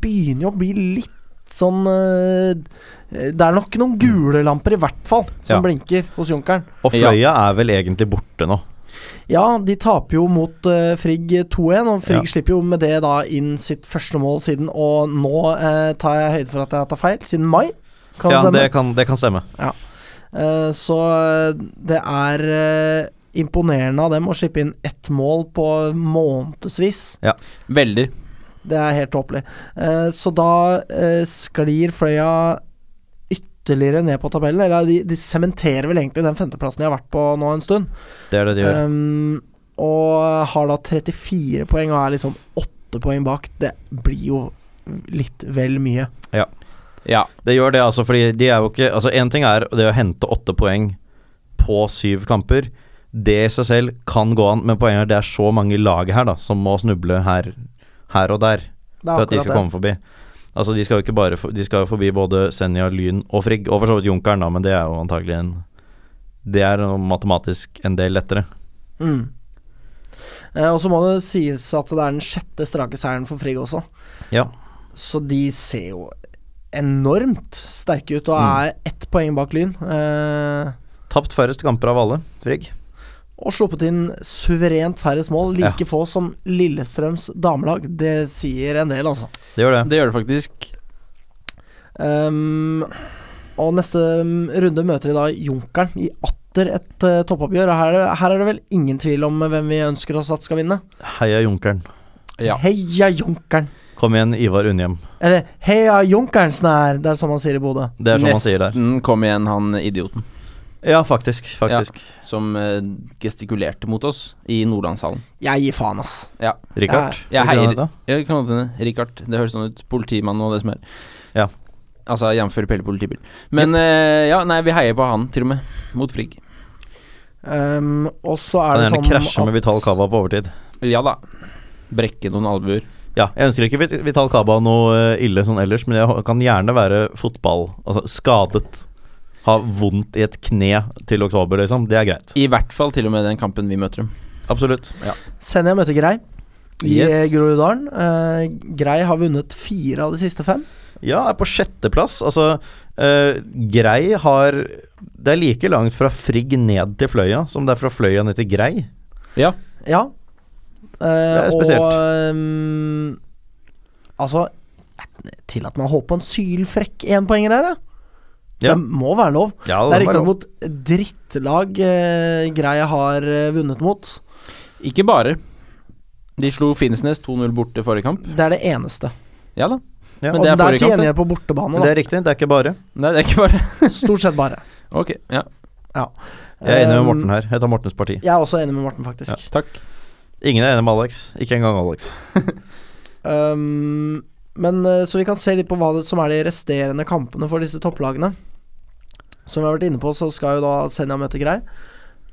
[SPEAKER 2] begynner jo å bli litt sånn eh, Det er nok noen gule lamper, i hvert fall, som
[SPEAKER 3] Ja.
[SPEAKER 2] blinker hos Junkeren.
[SPEAKER 3] Og
[SPEAKER 1] Ja.
[SPEAKER 3] Fløya er vel egentlig borte nå.
[SPEAKER 2] Ja, de taper jo mot eh, Frigg 2-1, og Frigg
[SPEAKER 3] Ja.
[SPEAKER 2] slipper jo med det da inn sitt første mål siden Og nå eh, tar jeg høyde for at jeg tar feil, siden mai. Kan det
[SPEAKER 3] ja,
[SPEAKER 2] stemme?
[SPEAKER 3] det kan, det kan stemme.
[SPEAKER 2] Eh, Så eh, det er eh, imponerende av dem å slippe inn ett mål på månedsvis.
[SPEAKER 1] Veldig.
[SPEAKER 2] Det er helt tåpelig. Eh, Så da eh, sklir Fløya ytterligere ned på tabellen. Eller de- de sementerer vel egentlig den femteplassen de har vært på nå en stund.
[SPEAKER 3] Det er det de gjør.
[SPEAKER 2] Um, og har da 34 poeng og er liksom åtte poeng bak. Det blir jo litt vel mye.
[SPEAKER 1] Ja.
[SPEAKER 3] Det gjør det, altså, fordi de er jo ikke Altså, én ting er det å hente åtte poeng på syv kamper. Det i seg selv kan gå an, men poenget er det er så mange lag her da som må snuble her, her og der
[SPEAKER 2] Det
[SPEAKER 3] for at de skal
[SPEAKER 2] det.
[SPEAKER 3] komme forbi. Altså, de skal jo ikke bare for, De skal jo forbi både Senja, Lyn og Frigg, og for så vidt Junkeren, da, men det er jo antagelig en Det er jo matematisk en del lettere.
[SPEAKER 2] Mm. Eh, og så må det sies at det er den sjette strake seieren for Frigg også.
[SPEAKER 3] Ja.
[SPEAKER 2] Så de ser jo enormt sterke ut og er ett poeng bak Lyn. Eh,
[SPEAKER 3] Tapt færrest kamper av alle, Frigg.
[SPEAKER 2] og sluppet inn suverent færrest mål, like få som Lillestrøms damelag. Det sier en del, altså.
[SPEAKER 3] Det gjør det.
[SPEAKER 1] Det gjør det faktisk.
[SPEAKER 2] Ehm, og neste mm, runde møter de da Junkeren i atter et eh, toppoppgjør. Og her er, det, her er det vel ingen tvil om eh, hvem vi ønsker oss at skal vinne.
[SPEAKER 3] Heia Junkeren.
[SPEAKER 1] Ja.
[SPEAKER 2] Heia Junkeren!
[SPEAKER 3] Kom igjen, Ivar Unnhjem.
[SPEAKER 2] Eller heia Junkeren snær, det er som man sier i Bodø.
[SPEAKER 3] Det er sånn man sier der.
[SPEAKER 1] Nesten kom igjen han idioten
[SPEAKER 3] Ja, faktisk. Faktisk.
[SPEAKER 1] som eh, gestikulerte mot oss i Nordlandshallen.
[SPEAKER 2] Jeg gir faen, ass.
[SPEAKER 3] Richard.
[SPEAKER 1] Ja, hei,
[SPEAKER 3] er det det han
[SPEAKER 1] Ri-
[SPEAKER 3] heter?
[SPEAKER 1] Ja, det kan godt hende. Richard. Det høres sånn ut. Politimann og det som er.
[SPEAKER 3] Ja.
[SPEAKER 1] Altså jf. Pelle politibil. Men eh, ja, nei, vi heier på han, til og med. Mot Frigg.
[SPEAKER 2] Ehm, og så er
[SPEAKER 3] Kan
[SPEAKER 2] det
[SPEAKER 3] gjerne
[SPEAKER 2] sånn
[SPEAKER 3] krasje med Vital Kaba på overtid.
[SPEAKER 1] Ja da. Brekke noen albuer.
[SPEAKER 3] Ja, jeg ønsker ikke Vit- Vital Kaba noe eh, ille sånn ellers, men jeg ho- kan gjerne være fotball Altså skadet. Ha vondt i et kne til oktober, liksom. Det er greit.
[SPEAKER 1] I hvert fall til og med den kampen vi møter dem.
[SPEAKER 3] Absolutt.
[SPEAKER 2] Senja møter Grei i
[SPEAKER 1] Yes.
[SPEAKER 2] eh, Groruddalen. Eh, Grei har vunnet fire av de siste fem.
[SPEAKER 3] Ja, er på sjetteplass. Altså, eh, Grei har Det er like langt fra Frigg ned til Fløya som det er fra Fløya ned til Grei.
[SPEAKER 1] Ja.
[SPEAKER 2] Ja. Eh,
[SPEAKER 3] Det er spesielt.
[SPEAKER 2] Og ehm, altså Til at man holdt på en sylfrekk énpoenger her, ja.
[SPEAKER 3] Ja.
[SPEAKER 2] Det må være lov. Det
[SPEAKER 3] Ja,
[SPEAKER 2] er
[SPEAKER 3] må være
[SPEAKER 2] riktignok
[SPEAKER 3] lov.
[SPEAKER 2] mot drittlag eh, Greia har eh, vunnet mot.
[SPEAKER 1] Ikke bare. De slo Finnsnes 2-0 borte forrige kamp.
[SPEAKER 2] Det er det eneste.
[SPEAKER 1] Ja da.
[SPEAKER 3] Ja,
[SPEAKER 1] Men
[SPEAKER 2] Og
[SPEAKER 1] det er
[SPEAKER 2] til
[SPEAKER 1] forrige kamp, det.
[SPEAKER 2] gjengjeld på bortebane,
[SPEAKER 3] Men
[SPEAKER 2] da.
[SPEAKER 3] det er riktig, det er ikke bare.
[SPEAKER 1] Nei, det er ikke bare <laughs>
[SPEAKER 2] Stort sett bare.
[SPEAKER 1] Ok, ja.
[SPEAKER 3] Jeg
[SPEAKER 1] Eh,
[SPEAKER 3] er enig med
[SPEAKER 2] Um,
[SPEAKER 3] Morten her. Jeg tar Mortens parti.
[SPEAKER 2] Jeg er også enig med Morten, faktisk.
[SPEAKER 1] Takk.
[SPEAKER 3] Ingen er enig med Alex. Ikke engang Alex.
[SPEAKER 2] Um, men eh, Så vi kan se litt på hva det, som er de resterende kampene for disse topplagene. Som vi har vært inne på, så skal jo da Senja møte Grei.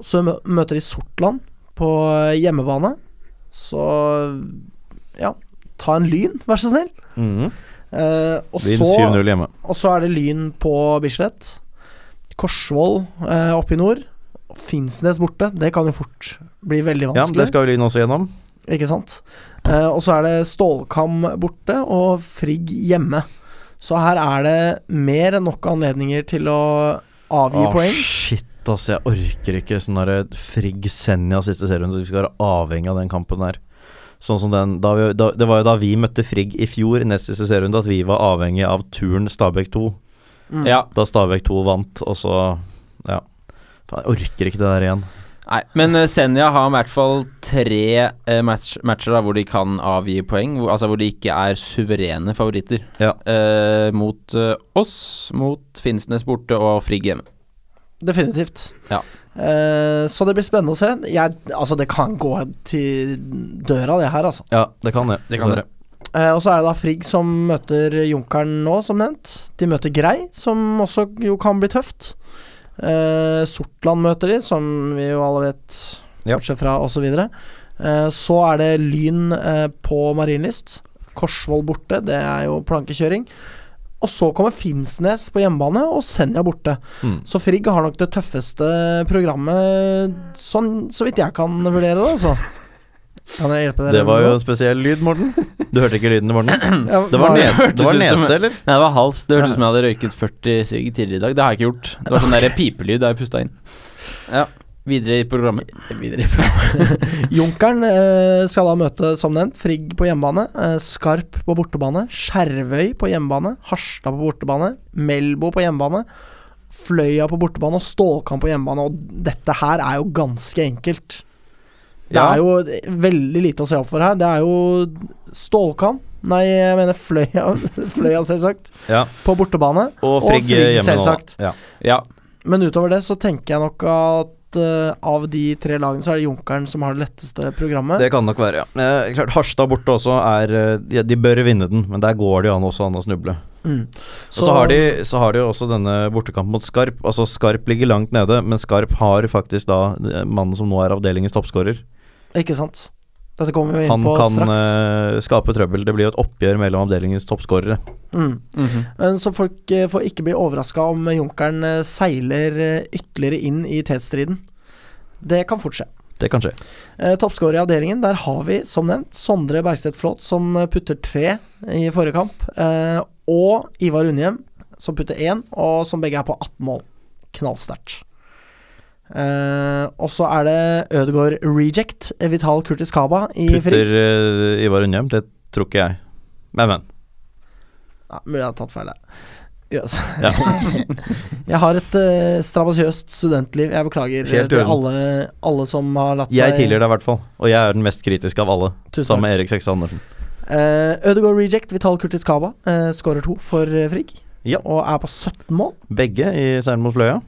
[SPEAKER 2] Så mø- møter de Sortland på eh, hjemmebane. Så ja, ta en Lyn, vær så snill.
[SPEAKER 1] Mm.
[SPEAKER 3] Mhm.
[SPEAKER 2] Eh, og,
[SPEAKER 3] Vinn
[SPEAKER 2] så,
[SPEAKER 3] 7-0 hjemme.
[SPEAKER 2] og så er det Lyn på Bislett. Korsvoll eh, oppe i nord. Finnsnes borte. Det kan jo fort bli veldig
[SPEAKER 3] Ja,
[SPEAKER 2] vanskelig.
[SPEAKER 3] det skal jo Lyn også gjennom.
[SPEAKER 2] Ikke sant? Eh, og så er det Stålkam borte og Frigg hjemme. Så her er det mer enn nok anledninger til å avgi
[SPEAKER 3] Åh,
[SPEAKER 2] poeng.
[SPEAKER 3] Ah, Shit, ass. Jeg orker ikke sånn derre Frigg Senja siste serien, så vi skal være avhengig av den kampen der. Sånn som den da vi, da, Det var jo da vi møtte Frigg i fjor, nest siste serierunde, at vi var avhengig av turen Stabæk 2.
[SPEAKER 2] Mm.
[SPEAKER 1] Ja.
[SPEAKER 3] Da Stabæk 2 vant, og så Ja. Faen, jeg orker ikke det der igjen.
[SPEAKER 1] Nei, men eh, Senja har i hvert fall tre eh, match, matcher da, hvor de kan avgi poeng. Hvor, altså hvor de ikke er suverene favoritter.
[SPEAKER 3] Ja.
[SPEAKER 1] Eh, mot eh, oss, mot Finnsnes borte og Frigg hjemme.
[SPEAKER 2] Definitivt.
[SPEAKER 1] Ja.
[SPEAKER 2] Eh, så det blir spennende å se. Jeg, altså, det kan gå til døra, det her, altså.
[SPEAKER 3] Ja, det kan det.
[SPEAKER 1] Det kan det.
[SPEAKER 2] Eh, og så er det da Frigg som møter Junkeren nå, som nevnt. De møter Grei, som også jo kan bli tøft. Eh, Sortland møter de, som vi jo alle vet,
[SPEAKER 3] Ja.
[SPEAKER 2] bortsett fra osv. Eh, så er det Lyn eh, på Marienlyst. Korsvoll borte, det er jo plankekjøring. Og så kommer Finnsnes på hjemmebane, og Senja borte.
[SPEAKER 3] Mm.
[SPEAKER 2] Så Frigg har nok det tøffeste programmet, sånn så vidt jeg kan vurdere det,
[SPEAKER 3] <laughs>
[SPEAKER 2] altså. Kan jeg hjelpe dere?
[SPEAKER 3] Det
[SPEAKER 2] med
[SPEAKER 3] var jo
[SPEAKER 2] noe?
[SPEAKER 3] en spesiell lyd, Morten. Du hørte ikke lyden, Morten?
[SPEAKER 2] <clears throat> Ja,
[SPEAKER 3] Det var
[SPEAKER 2] hva-
[SPEAKER 3] nese, det var
[SPEAKER 1] Hørtes ut som-
[SPEAKER 3] nese eller?
[SPEAKER 1] Nei, det var hals. Det hørtes ut som jeg hadde røyket 40 sigg tidligere i dag. Det har jeg ikke gjort. Det var sånn der pipelyd da jeg pusta inn. Ja, videre i programmet.
[SPEAKER 2] Junkeren eh, skal da møte, som nevnt, Frigg på hjemmebane, eh, Skarp på bortebane, Skjervøy på hjemmebane, Harstad på bortebane, Melbo på hjemmebane, Fløya på bortebane og Stålkamp på hjemmebane. Og dette her er jo ganske enkelt. Det
[SPEAKER 3] Ja.
[SPEAKER 2] er jo veldig lite å se opp for her. Det er jo Stålkamp Nei, jeg mener Fløya, <laughs> fløya selvsagt,
[SPEAKER 3] Ja.
[SPEAKER 2] på bortebane.
[SPEAKER 3] Og
[SPEAKER 2] Og
[SPEAKER 3] Frigg
[SPEAKER 2] Frigg,
[SPEAKER 3] eh, hjemme nå. da.
[SPEAKER 2] selvsagt.
[SPEAKER 3] Ja.
[SPEAKER 1] Ja,
[SPEAKER 2] Men utover det så tenker jeg nok at eh, av de tre lagene så er det Junkeren som har det letteste programmet.
[SPEAKER 3] Det kan nok være, ja. Eh, klart, Harstad borte også er eh, ja, De bør vinne den, men der går det jo an også an å snuble.
[SPEAKER 2] Mm.
[SPEAKER 3] Og så har, de, så har de jo også denne bortekampen mot Skarp. Altså Skarp ligger langt nede, men Skarp har faktisk da eh, mannen som nå er avdelingens toppskårer.
[SPEAKER 2] Ikke sant. Dette kommer vi inn
[SPEAKER 3] Han
[SPEAKER 2] på
[SPEAKER 3] kan
[SPEAKER 2] straks.
[SPEAKER 3] eh, skape trøbbel. Det blir jo et oppgjør mellom avdelingens toppskårere.
[SPEAKER 2] Mm. Men Så folk eh, får ikke bli overraska om Junkeren eh, seiler eh, ytterligere inn i tetstriden. Det kan fort skje.
[SPEAKER 3] Det kan skje.
[SPEAKER 2] Eh, Toppskårer i avdelingen, der har vi som nevnt Sondre Bergstedt Flåt, som eh, putter tre i forrige kamp. Eh, og Ivar Unnhjem, som putter én, og som begge er på 18 mål. Knallsterkt. Eh, og så er det Ødegaard Reject, eh, Vital Kurtis Kaba i Frigg.
[SPEAKER 3] Putter eh, Ivar Undhjem? Det tror ikke jeg. Men, men.
[SPEAKER 2] Ja, mulig jeg har tatt feil der. Yes. <laughs>
[SPEAKER 3] Ja.
[SPEAKER 2] jeg har et eh, strabasiøst studentliv. Jeg beklager eh,
[SPEAKER 3] Helt i
[SPEAKER 2] til
[SPEAKER 3] orden.
[SPEAKER 2] alle, alle som har latt
[SPEAKER 3] Jeg
[SPEAKER 2] seg
[SPEAKER 3] tilgir deg i hvert fall. Og jeg er den mest kritiske av alle.
[SPEAKER 2] Tusen
[SPEAKER 3] Sammen med
[SPEAKER 2] takk.
[SPEAKER 3] Erik Sekstad Andersen.
[SPEAKER 2] Eh, Ødegaard Reject, Vital Kurtis Kaba, eh, skårer to for eh, Frigg.
[SPEAKER 3] Ja.
[SPEAKER 2] Og er på 17 mål.
[SPEAKER 3] Begge i seieren mot Fløya.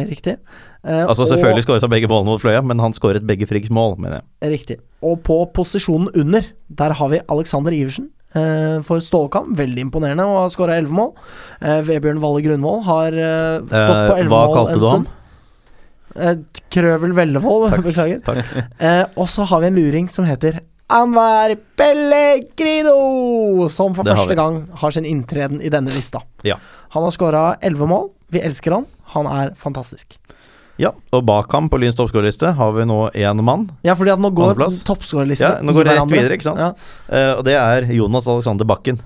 [SPEAKER 2] Riktig. Eh,
[SPEAKER 3] Altså selvfølgelig skåret han begge målene mot Fløya, men han skåret begge Friggs mål, mener jeg.
[SPEAKER 2] Og, riktig. Og på posisjonen under, der har vi Alexander Iversen eh, for Stålkamp. Veldig imponerende og har skåra 11 mål. Eh, Vebjørn Valle Grunvoll har eh, stått
[SPEAKER 3] Eh,
[SPEAKER 2] på 11
[SPEAKER 3] hva
[SPEAKER 2] mål
[SPEAKER 3] kalte
[SPEAKER 2] en
[SPEAKER 3] du ham?
[SPEAKER 2] stund. Eh, Krøvel Vellevold, beklager.
[SPEAKER 3] Takk.
[SPEAKER 2] Eh, og så har vi en luring som heter Anwar Pellegrino, som for
[SPEAKER 3] Det har
[SPEAKER 2] første
[SPEAKER 3] vi.
[SPEAKER 2] gang har sin inntreden i denne lista.
[SPEAKER 3] Ja.
[SPEAKER 2] Han har skåra elleve mål. Vi elsker han. Han er fantastisk.
[SPEAKER 3] Ja, og bak ham på Lyns toppskårerliste har vi nå én mann.
[SPEAKER 2] Ja, fordi at nå går
[SPEAKER 3] Andreplass.
[SPEAKER 2] toppskårerlisten
[SPEAKER 3] Ja, nå går det rett videre, ikke sant?
[SPEAKER 2] Ja,
[SPEAKER 3] Eh, og det er Jonas Alexander Bakken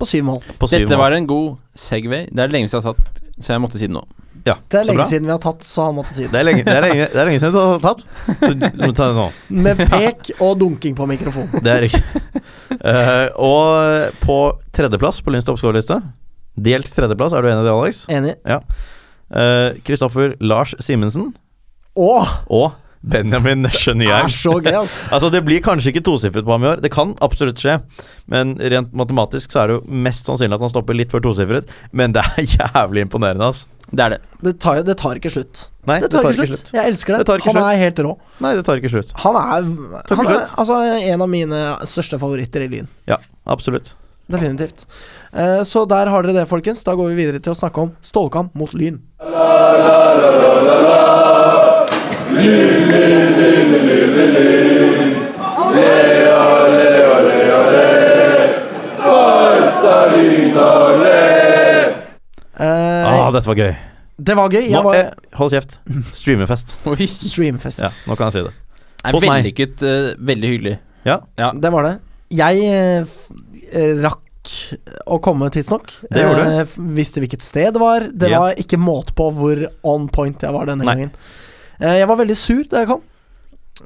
[SPEAKER 2] på syv mål.
[SPEAKER 3] på syv
[SPEAKER 1] Dette var
[SPEAKER 3] mål.
[SPEAKER 1] en god segway. Det er det lenge siden jeg har satt, så jeg måtte si det nå.
[SPEAKER 3] Ja,
[SPEAKER 2] Det er
[SPEAKER 3] så
[SPEAKER 2] lenge
[SPEAKER 3] bra.
[SPEAKER 2] siden vi har tatt, så han måtte si det.
[SPEAKER 3] Det er lenge, det er lenge, det er lenge siden du har tatt. Du, du må ta det nå. <laughs>
[SPEAKER 2] Med pek og dunking på mikrofonen.
[SPEAKER 3] Det er riktig. Eh, og på tredjeplass på Lyns toppskårerliste Delt tredjeplass, er du enig i det, Alex?
[SPEAKER 2] Enig.
[SPEAKER 3] Eh, Kristoffer Lars Simensen
[SPEAKER 2] Å!
[SPEAKER 3] og Benjamin Nesje
[SPEAKER 2] Det
[SPEAKER 3] Nyheim.
[SPEAKER 2] er så gøy, altså.
[SPEAKER 3] <laughs> Altså Det blir kanskje ikke tosifret på ham i år, det kan absolutt skje. Men rent matematisk så er det jo mest sannsynlig at han stopper litt før tosifret. Men det er <laughs> jævlig imponerende, altså.
[SPEAKER 1] Det er det.
[SPEAKER 2] Det tar, det tar ikke slutt.
[SPEAKER 3] Nei,
[SPEAKER 2] det tar, ikke slutt. Jeg elsker det.
[SPEAKER 3] Det tar ikke
[SPEAKER 2] han
[SPEAKER 3] slutt.
[SPEAKER 2] er helt rå.
[SPEAKER 3] Nei, det tar ikke slutt.
[SPEAKER 2] Han er,
[SPEAKER 3] Tar ikke
[SPEAKER 2] han er
[SPEAKER 3] slutt.
[SPEAKER 2] altså, en av mine største favoritter i Lyn.
[SPEAKER 3] Ja, absolutt.
[SPEAKER 2] Definitivt. Eh, så der har dere det, folkens. Da går vi videre til å snakke om Stålkamp mot Lyn. Eh,
[SPEAKER 3] Ah, dette var gøy.
[SPEAKER 2] det var gøy.
[SPEAKER 3] Nå,
[SPEAKER 2] Jeg var
[SPEAKER 3] eh, hold kjeft. Streamerfest.
[SPEAKER 1] Oi.
[SPEAKER 2] streamfest.
[SPEAKER 3] Ja, nå kan jeg si det.
[SPEAKER 1] Er
[SPEAKER 3] Hos meg.
[SPEAKER 1] vellykket. eh, veldig hyggelig.
[SPEAKER 2] Det var det. Jeg eh, f- eh, rakk å komme tidsnok.
[SPEAKER 3] Det gjorde du.
[SPEAKER 2] Eh, f- visste hvilket sted det var. Det
[SPEAKER 3] Ja.
[SPEAKER 2] var ikke måte på hvor on point jeg var denne
[SPEAKER 3] Nei.
[SPEAKER 2] gangen. Eh, jeg var veldig sur da jeg kom.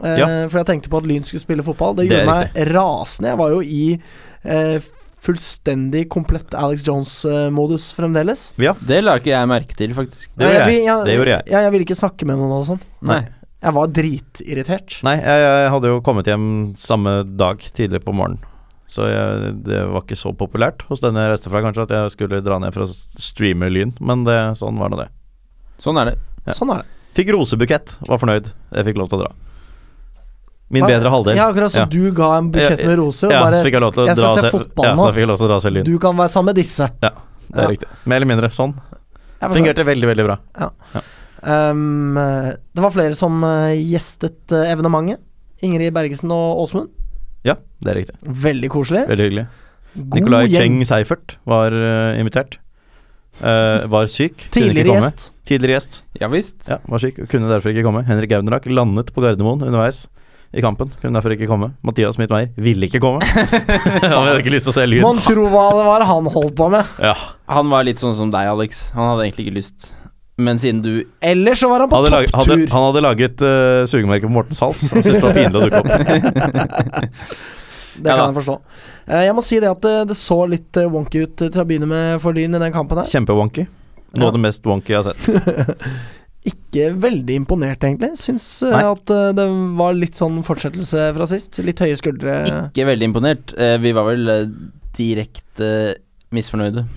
[SPEAKER 2] Eh,
[SPEAKER 3] Ja.
[SPEAKER 2] For jeg tenkte på at Lyn skulle spille fotball. Det
[SPEAKER 3] Det
[SPEAKER 2] gjorde
[SPEAKER 3] er
[SPEAKER 2] meg rasende. Jeg var jo i eh, fullstendig komplett Alex Jones-modus fremdeles. Eh,
[SPEAKER 1] Det la ikke jeg merke til, faktisk.
[SPEAKER 3] Det gjorde jeg. Det gjorde jeg.
[SPEAKER 2] Ja, jeg ville ikke snakke med noen og sånn.
[SPEAKER 1] Nei.
[SPEAKER 2] Jeg var dritirritert.
[SPEAKER 3] Nei, jeg, jeg hadde jo kommet hjem samme dag, tidlig på morgenen. Så jeg, det var ikke så populært hos den jeg reiste fra, kanskje, at jeg skulle dra ned for å streame Lyn. Men det, sånn var nå det.
[SPEAKER 1] Sånn er det.
[SPEAKER 2] Sånn er det.
[SPEAKER 3] Fikk rosebukett, var fornøyd. Jeg fikk lov til å dra. Min
[SPEAKER 2] Hva-
[SPEAKER 3] bedre halvdel.
[SPEAKER 2] Ja, akkurat som
[SPEAKER 3] Ja.
[SPEAKER 2] du ga en bukett
[SPEAKER 3] Ja,
[SPEAKER 2] med roser. Og
[SPEAKER 3] Ja,
[SPEAKER 2] bare
[SPEAKER 3] så fikk jeg lov til å
[SPEAKER 2] jeg skal
[SPEAKER 3] dra
[SPEAKER 2] se
[SPEAKER 3] og
[SPEAKER 2] fotball
[SPEAKER 3] ja,
[SPEAKER 2] nå.
[SPEAKER 3] Da fikk jeg lov til å dra og se Lyn.
[SPEAKER 2] Du kan være sammen med disse.
[SPEAKER 3] Det er
[SPEAKER 2] Ja.
[SPEAKER 3] riktig. Mer eller mindre. Sånn.
[SPEAKER 2] Jeg forstår.
[SPEAKER 3] Fungerte veldig, veldig bra.
[SPEAKER 2] Um, eh, det var flere som eh, gjestet eh, evenementet. Ingrid Bergesen og Åsmund.
[SPEAKER 3] Ja, det er riktig.
[SPEAKER 2] Veldig koselig.
[SPEAKER 3] Veldig hyggelig.
[SPEAKER 2] God
[SPEAKER 3] Nicolai
[SPEAKER 2] gjeng.
[SPEAKER 3] Cheng Seifert var eh, invitert. Eh, var syk. kunne ikke
[SPEAKER 2] Tidligere
[SPEAKER 3] komme.
[SPEAKER 2] gjest.
[SPEAKER 3] Tidligere gjest.
[SPEAKER 1] Ja visst.
[SPEAKER 3] Ja, var syk og kunne derfor ikke komme. Henrik Audnrak landet på Gardermoen underveis i kampen. Kunne derfor ikke komme. Mathias Smith Meyer ville ikke komme. <laughs> Han hadde ikke lyst til å se lyd.
[SPEAKER 2] Mon tro hva det var han holdt på med.
[SPEAKER 3] Ja.
[SPEAKER 1] Han var litt sånn som deg, Alex. Han hadde egentlig ikke lyst. Men siden du
[SPEAKER 2] Ellers så var han på
[SPEAKER 3] Hadde lag, hadde,
[SPEAKER 2] topptur.
[SPEAKER 3] han hadde laget eh, sugemerke på Mortens hals. Han syntes det var pinlig å dukke opp.
[SPEAKER 2] Det
[SPEAKER 1] Ja
[SPEAKER 2] kan
[SPEAKER 1] da.
[SPEAKER 2] jeg forstå. Eh, jeg må si det at det, det så litt eh, wonky ut eh, til å begynne med for Lyn i den kampen her.
[SPEAKER 3] Kjempewonky. Noe av det mest wonky jeg har sett.
[SPEAKER 2] Ikke veldig imponert, egentlig. Syns eh,
[SPEAKER 3] Nei.
[SPEAKER 2] at eh, det var litt sånn fortsettelse fra sist. Litt høye skuldre.
[SPEAKER 1] ikke veldig imponert. Eh, Vi var vel eh, direkte misfornøyde.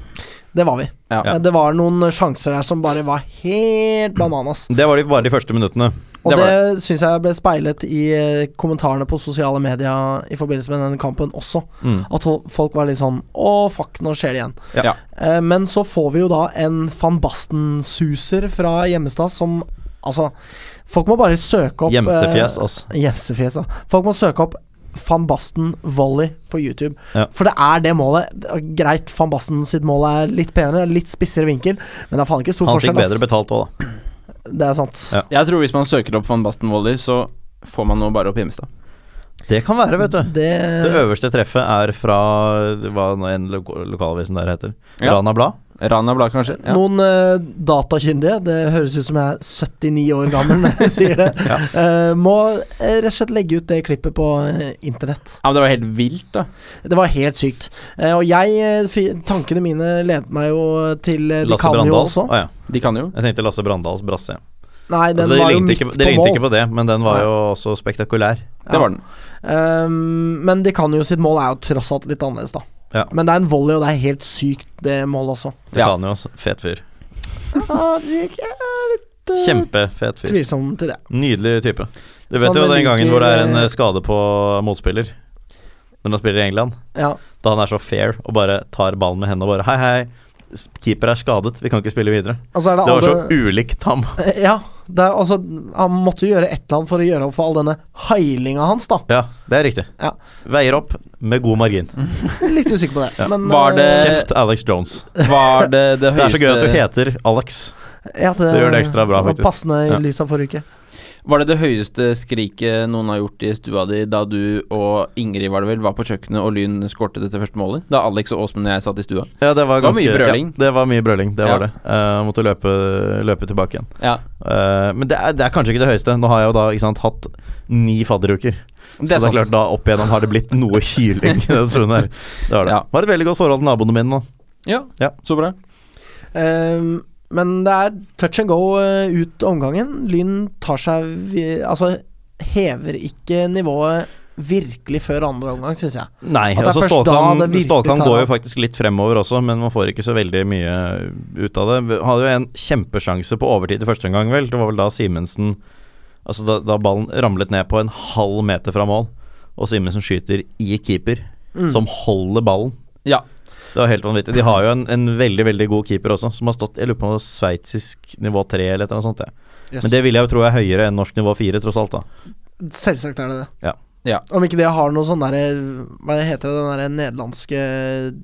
[SPEAKER 2] Det var vi.
[SPEAKER 1] Ja.
[SPEAKER 2] Eh, Det var noen sjanser der som bare var helt bananas.
[SPEAKER 3] Det var de bare de første minuttene.
[SPEAKER 2] Og
[SPEAKER 1] Det
[SPEAKER 2] det,
[SPEAKER 1] var
[SPEAKER 2] synes syns jeg ble speilet i eh, kommentarene på sosiale medier i forbindelse med den kampen også.
[SPEAKER 3] Mm.
[SPEAKER 2] At ho- folk var litt sånn Å, fuck, nå skjer det igjen.
[SPEAKER 3] Ja.
[SPEAKER 1] Ja.
[SPEAKER 2] Eh, Men så får vi jo da en van Basten-suser fra Hjemmestad som Altså, folk må bare søke opp eh,
[SPEAKER 3] Gjemsefjes, altså.
[SPEAKER 2] Gjemsefjes, ja. Folk må søke opp Van Basten volley på YouTube.
[SPEAKER 3] Ja.
[SPEAKER 2] For det er det målet. Det er Greit, Van Basten sitt mål er litt penere, litt spissere vinkel, men det er faen ikke stor
[SPEAKER 3] Han fikk
[SPEAKER 2] forskjell. ass.
[SPEAKER 3] bedre betalt òg, da.
[SPEAKER 2] Det er sant.
[SPEAKER 3] Ja.
[SPEAKER 1] Jeg tror hvis man søker opp van Basten Volley, så får man nå bare opp Hjemmestad.
[SPEAKER 3] Det kan være, vet du.
[SPEAKER 2] Det,
[SPEAKER 3] Det øverste treffet er fra hva nå enn lo lokalavisen der heter.
[SPEAKER 1] Ja.
[SPEAKER 3] Rana Blad.
[SPEAKER 1] Rana Blad, kanskje? Ja.
[SPEAKER 2] Noen eh, datakyndige, det høres ut som jeg er 79 år gammel når jeg sier det,
[SPEAKER 3] <laughs> Ja.
[SPEAKER 2] eh, må eh, rett og slett legge ut det klippet på eh, internett.
[SPEAKER 1] Ja, men det var helt vilt, da.
[SPEAKER 2] Det var helt sykt. Eh, og jeg, eh, fi- tankene mine ledet meg jo til eh, De
[SPEAKER 3] Lasse
[SPEAKER 2] kan jo
[SPEAKER 3] Brandal.
[SPEAKER 2] også.
[SPEAKER 3] Å ja.
[SPEAKER 1] De kan jo.
[SPEAKER 3] Jeg tenkte Lasse Brandals brasse.
[SPEAKER 2] Nei, den
[SPEAKER 3] Altså, det
[SPEAKER 2] var jo
[SPEAKER 3] lignet
[SPEAKER 2] midt
[SPEAKER 3] ikke, det
[SPEAKER 2] på
[SPEAKER 3] lignet
[SPEAKER 2] mål.
[SPEAKER 3] ikke på det, men den var
[SPEAKER 2] Nei.
[SPEAKER 3] jo også spektakulær.
[SPEAKER 1] Det var den.
[SPEAKER 2] Ehm, men de kan jo sitt mål er jo tross alt litt annerledes, da.
[SPEAKER 3] Ja.
[SPEAKER 2] Men det er en volley, og det er helt sykt, det målet også.
[SPEAKER 3] Det
[SPEAKER 1] Ja.
[SPEAKER 3] kan jo, altså. fet fyr.
[SPEAKER 2] Ah, jeg er litt eh,
[SPEAKER 3] Kjempefet fyr.
[SPEAKER 2] tvilsom til det.
[SPEAKER 3] Nydelig type. Du
[SPEAKER 2] Så
[SPEAKER 3] vet jo
[SPEAKER 2] han
[SPEAKER 3] den gangen
[SPEAKER 2] liker-
[SPEAKER 3] hvor det er en eh, skade på motspiller, når han spiller i England,
[SPEAKER 2] Ja.
[SPEAKER 3] da han er så fair og bare tar ballen med hendene og bare Hei, hei, s- keeper er skadet, vi kan ikke spille videre.
[SPEAKER 2] Altså er det,
[SPEAKER 3] Det var så
[SPEAKER 2] alle-
[SPEAKER 3] ulikt ham.
[SPEAKER 2] Eh, Ja, det er, altså, han måtte jo gjøre et eller annet for å gjøre opp for all denne heilinga hans, da.
[SPEAKER 3] <laughs> Ja, Mm. det er riktig.
[SPEAKER 2] Ja.
[SPEAKER 3] Veier opp med god margin.
[SPEAKER 2] Litt usikker på det.
[SPEAKER 3] Ja.
[SPEAKER 2] Men,
[SPEAKER 1] Var det- Eh,
[SPEAKER 3] Kjeft Alex Jones.
[SPEAKER 1] Var det det
[SPEAKER 3] <laughs> Det er
[SPEAKER 1] høyeste
[SPEAKER 3] så gøy at du heter Alex.
[SPEAKER 2] eh, ja,
[SPEAKER 3] det gjør det ekstra bra,
[SPEAKER 2] var
[SPEAKER 3] faktisk.
[SPEAKER 2] Passende i
[SPEAKER 3] Ja.
[SPEAKER 2] lys av forrige uke.
[SPEAKER 1] Var det det høyeste skriket noen har gjort i stua di da du og Ingrid var det vel, var på kjøkkenet og Lyn skårte dette første målet? Da Alex og Åsmund og jeg satt i stua?
[SPEAKER 3] Ja, det var
[SPEAKER 1] Det var
[SPEAKER 3] ganske
[SPEAKER 1] mye brøling.
[SPEAKER 3] Ja, det var mye brøling, det
[SPEAKER 1] Ja.
[SPEAKER 3] var det. Eh, måtte løpe, løpe tilbake igjen.
[SPEAKER 1] Ja.
[SPEAKER 3] Eh, men det er, det er kanskje ikke det høyeste. Nå har jeg jo da ikke sant, hatt ni fadderuker.
[SPEAKER 1] Det
[SPEAKER 3] så
[SPEAKER 1] er
[SPEAKER 3] det er
[SPEAKER 1] sant.
[SPEAKER 3] klart da opp igjennom har det blitt <laughs> noe hyling. i den stunden her. Det var det.
[SPEAKER 1] Ja.
[SPEAKER 3] Var et veldig godt forhold til naboene mine. da.
[SPEAKER 1] Ja,
[SPEAKER 3] Ja.
[SPEAKER 1] så bra.
[SPEAKER 2] Ehm, men det er touch and go eh, ut omgangen. Lyn tar seg vi- Altså hever ikke nivået virkelig før andre omgang, syns jeg.
[SPEAKER 3] Nei,
[SPEAKER 2] At det er
[SPEAKER 3] altså
[SPEAKER 2] først da det
[SPEAKER 3] Stålkamp
[SPEAKER 2] virkelig tar
[SPEAKER 3] går jo
[SPEAKER 2] av.
[SPEAKER 3] faktisk litt fremover også, men man får ikke så veldig mye ut av det. Vi Hadde jo en kjempesjanse på overtid i første omgang, vel. Det var vel da Simensen Altså da, da ballen ramlet ned på en halv meter fra mål, og Simensen skyter i keeper,
[SPEAKER 2] Mm.
[SPEAKER 3] som holder ballen.
[SPEAKER 1] Ja.
[SPEAKER 3] Det var helt vanvittig. De har jo en, en veldig veldig god keeper også, som har stått Jeg lurer på om det var sveitsisk nivå 3 eller et eller annet sånt. Ja. Men det vil jeg jo tro er høyere enn norsk nivå 4, tross alt. da
[SPEAKER 2] Selvsagt er det det.
[SPEAKER 3] Ja.
[SPEAKER 1] Ja.
[SPEAKER 2] Om ikke det har noe sånn derre Hva heter det, den derre nederlandske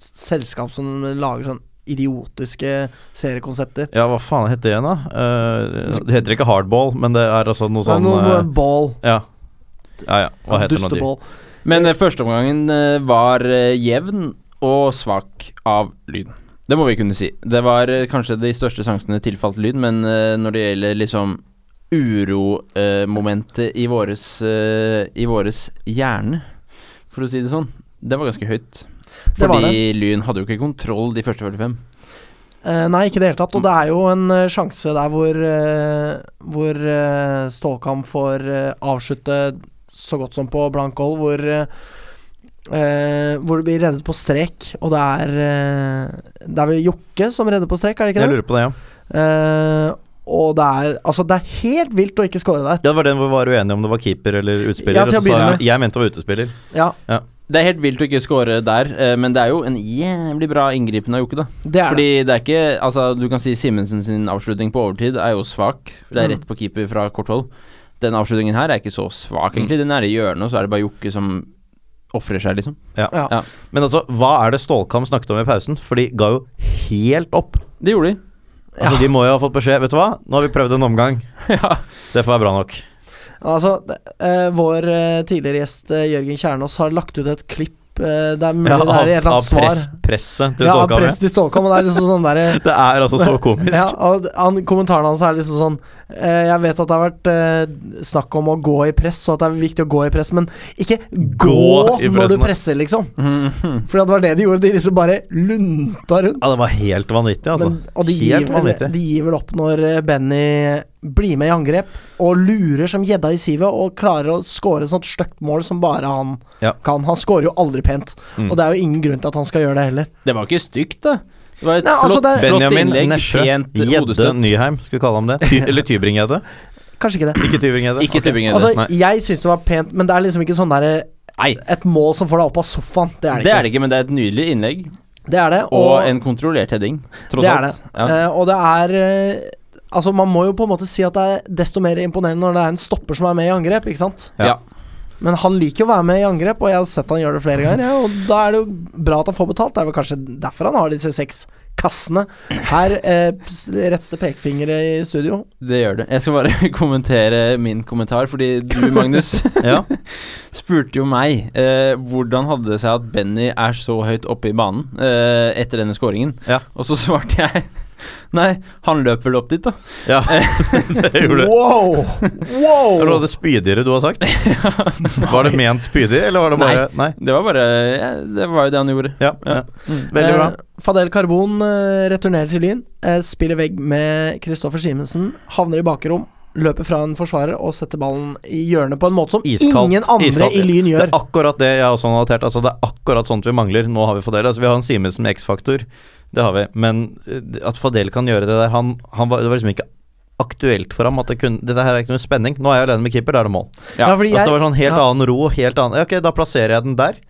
[SPEAKER 2] s- selskap som lager sånn idiotiske seriekonsepter?
[SPEAKER 3] Ja, hva faen heter det igjen, da? Eh, det heter ikke hardball, men det er altså noe
[SPEAKER 2] Det er
[SPEAKER 3] sånn
[SPEAKER 2] noe
[SPEAKER 3] eh,
[SPEAKER 2] med ball.
[SPEAKER 3] Ja. Ja, ja. Hva heter nå de?
[SPEAKER 2] Dusteball.
[SPEAKER 1] Men eh, førsteomgangen eh, var eh, jevn og svak av Lyn. Det må vi kunne si. Det var eh, kanskje de største sjansene tilfalt Lyn, men eh, når det gjelder liksom uromomentet i, våres, eh, i våres hjerne, for å si det sånn, det var ganske høyt.
[SPEAKER 2] Det var
[SPEAKER 1] Fordi Lyn hadde jo ikke kontroll de første 45.
[SPEAKER 2] Eh, nei, ikke i det hele
[SPEAKER 3] Mm.
[SPEAKER 2] tatt. Og det er jo en eh, sjanse der hvor, eh, hvor eh, Stålkamp får eh, avslutte så godt som på blank hold, hvor, eh, eh, hvor det blir reddet på strek. Og det er eh, Det er vel Jokke som redder på strek, er det ikke
[SPEAKER 3] Jeg
[SPEAKER 2] det?
[SPEAKER 3] lurer på det, ja.
[SPEAKER 2] Eh, og det er Altså, det er helt vilt å ikke score der.
[SPEAKER 3] Ja, Det var den hvor vi var uenige om det var keeper eller utspiller.
[SPEAKER 2] Ja, til å
[SPEAKER 3] og så sa
[SPEAKER 2] begynne
[SPEAKER 3] jeg, jeg mente det var utespiller.
[SPEAKER 2] Ja,
[SPEAKER 1] Det er helt vilt å ikke score der, eh, men det er jo en jævlig bra inngripen av Jokke, da.
[SPEAKER 2] det er
[SPEAKER 1] Fordi det er ikke Altså, du kan si Simensen sin avslutning på overtid er jo svak. for Det er
[SPEAKER 2] Mm.
[SPEAKER 1] rett på keeper fra kort hold. Den avslutningen her er ikke så svak,
[SPEAKER 2] Mm.
[SPEAKER 1] egentlig. Den er i hjørnet, og så er det bare Jokke som ofrer seg, liksom.
[SPEAKER 2] det. Ja.
[SPEAKER 1] Ja.
[SPEAKER 3] Men altså, hva er det Stålkam snakket om i pausen? For de ga jo helt opp.
[SPEAKER 1] Det gjorde de.
[SPEAKER 3] Altså, De må jo ha fått beskjed. Vet du hva, nå har vi prøvd en
[SPEAKER 2] <laughs>
[SPEAKER 3] omgang.
[SPEAKER 1] ja.
[SPEAKER 3] Det får være bra nok.
[SPEAKER 2] Altså, det- eh, vår eh, tidligere gjest eh, Jørgen Kjernås har lagt ut et klipp eh, Det er mulig
[SPEAKER 3] Ja,
[SPEAKER 2] det er i et eller annet svar.
[SPEAKER 3] press, presset til
[SPEAKER 2] ja, av
[SPEAKER 3] Stålkam.
[SPEAKER 2] press til Stålkamp. Og det er liksom sånn
[SPEAKER 3] <laughs>
[SPEAKER 2] derre
[SPEAKER 3] Det er
[SPEAKER 2] <laughs>
[SPEAKER 3] altså så komisk.
[SPEAKER 2] Ja, og d- han, kommentaren hans er liksom sånn eh, Jeg vet at det har vært eh, snakk om å gå i press, og at det er viktig å gå i press, men ikke gå,
[SPEAKER 3] Gå i
[SPEAKER 2] når du
[SPEAKER 3] pressen, da. Mhm.
[SPEAKER 2] presser, liksom. For det var det de gjorde. De liksom bare lunta rundt.
[SPEAKER 3] Ja, det var helt vanvittig, altså.
[SPEAKER 2] Men, og de gir,
[SPEAKER 3] helt
[SPEAKER 2] vel,
[SPEAKER 3] vanvittig.
[SPEAKER 2] de gir vel opp når eh, Benny blir med i angrep og lurer som gjedda i sivet og klarer å score et sånt stygt mål som bare han
[SPEAKER 3] Ja.
[SPEAKER 2] kan. Han scorer jo aldri pent,
[SPEAKER 3] Mm.
[SPEAKER 2] og det er jo ingen grunn til at han skal gjøre det heller.
[SPEAKER 1] Det var ikke stygt, da. Det var et
[SPEAKER 2] Nei, altså,
[SPEAKER 1] flott,
[SPEAKER 2] det er-
[SPEAKER 1] flott
[SPEAKER 3] Benjamin
[SPEAKER 1] innlegg.
[SPEAKER 3] Nesje,
[SPEAKER 1] pent
[SPEAKER 3] Gjedde
[SPEAKER 1] hodestøt.
[SPEAKER 3] Nyheim, skal vi kalle ham det? Ty eller Tybring-Gjedde?
[SPEAKER 2] Kanskje ikke det.
[SPEAKER 3] Ikke Tybring-Gjedde.
[SPEAKER 1] Ikke
[SPEAKER 3] Ok.
[SPEAKER 1] Tybring-Gjedde.
[SPEAKER 2] Altså,
[SPEAKER 3] Nei.
[SPEAKER 2] jeg syns det var pent, men det er liksom ikke sånn derre
[SPEAKER 1] Nei,
[SPEAKER 2] et mål som får deg opp av sofaen. Det er det,
[SPEAKER 1] det er
[SPEAKER 2] ikke.
[SPEAKER 1] det ikke, men det er et nydelig innlegg.
[SPEAKER 2] Det er det, og,
[SPEAKER 1] Og en kontrollert heading, tross
[SPEAKER 2] det er det.
[SPEAKER 1] alt. Ja.
[SPEAKER 2] Eh, og det er eh, Altså, man må jo på en måte si at det er desto mer imponerende når det er en stopper som er med i angrep, ikke sant?
[SPEAKER 3] Ja.
[SPEAKER 1] Ja.
[SPEAKER 2] Men han liker jo å være med i angrep, og jeg har sett han gjøre det flere ganger. Ja, og da er det jo bra at han får betalt. Det er vel kanskje derfor han har disse seks kassene. Her eh, s- rettes det pekefingre i studio.
[SPEAKER 1] Det gjør det. Jeg skal bare <laughs> kommentere min kommentar, fordi du,
[SPEAKER 2] <laughs>
[SPEAKER 1] Magnus,
[SPEAKER 3] Ja.
[SPEAKER 1] spurte jo meg eh, hvordan hadde det seg at Benny er så høyt oppe i banen eh, etter denne scoringen.
[SPEAKER 3] Ja.
[SPEAKER 1] Og så <laughs> svarte jeg Nei, han løp vel opp dit, da.
[SPEAKER 3] ja. <laughs> det gjorde du.
[SPEAKER 2] Wow!
[SPEAKER 3] <laughs> Det var
[SPEAKER 2] wow!
[SPEAKER 3] det spydigere du har sagt. Var det ment spydig, eller var det bare Nei.
[SPEAKER 1] Det var bare ja, Det var jo det han gjorde.
[SPEAKER 3] Ja, ja. Mm. Veldig bra.
[SPEAKER 2] Eh, Fadel Karbon eh, returnerer til Lyn, eh, spiller vegg med Kristoffer Simensen, havner i bakrom. Løper fra en forsvarer og setter ballen i hjørnet på en måte som
[SPEAKER 3] Iskaldt.
[SPEAKER 2] Eh, ingen andre
[SPEAKER 3] Iskaldt.
[SPEAKER 2] i Lyn
[SPEAKER 3] Det
[SPEAKER 2] gjør.
[SPEAKER 3] er akkurat det jeg også har notert. Altså, det er akkurat sånt vi mangler. Nå har vi Fadel. Altså, vi har en Simensen med X-faktor, det har vi. Men eh, at Fadel kan gjøre det der han, han var, Det var liksom ikke aktuelt for ham. At det kunne, dette her er ikke noe spenning. Nå er jeg alene med keeper, da er det mål.
[SPEAKER 1] Ja,
[SPEAKER 2] fordi
[SPEAKER 3] altså, det var sånn helt
[SPEAKER 2] ja.
[SPEAKER 3] annen ro. Helt annen, ja, ok, da plasserer jeg den der.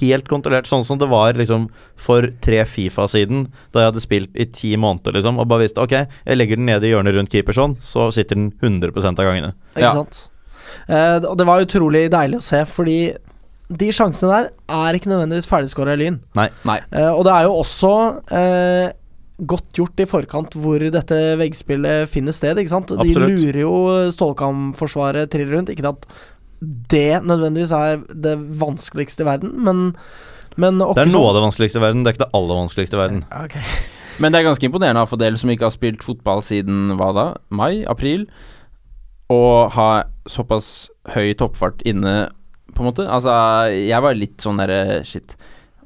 [SPEAKER 3] Helt kontrollert, sånn som det var liksom for tre Fifa siden, da jeg hadde spilt i ti måneder, liksom, og bare visste ok, jeg legger den ned i hjørnet rundt keeper sånn, så sitter den 100 av gangene.
[SPEAKER 2] Ikke
[SPEAKER 1] Ja.
[SPEAKER 2] sant? Eh, og det var utrolig deilig å se, fordi de sjansene der er ikke nødvendigvis ferdigskåra i Lyn.
[SPEAKER 3] Nei.
[SPEAKER 1] Nei.
[SPEAKER 2] Eh, og det er jo også eh, godt gjort i forkant hvor dette veggspillet finner sted, ikke sant?
[SPEAKER 3] Absolutt.
[SPEAKER 2] De lurer jo Stålkam-forsvaret trill rundt. Ikke at det nødvendigvis er det vanskeligste i verden, men, men
[SPEAKER 3] Det er noe av det vanskeligste i verden, det er ikke det aller vanskeligste i verden.
[SPEAKER 1] Men det er ganske imponerende av Fadel, som ikke har spilt fotball siden hva da? Mai? April? Og ha såpass høy toppfart inne, på en måte. Altså, jeg var litt sånn derre Shit.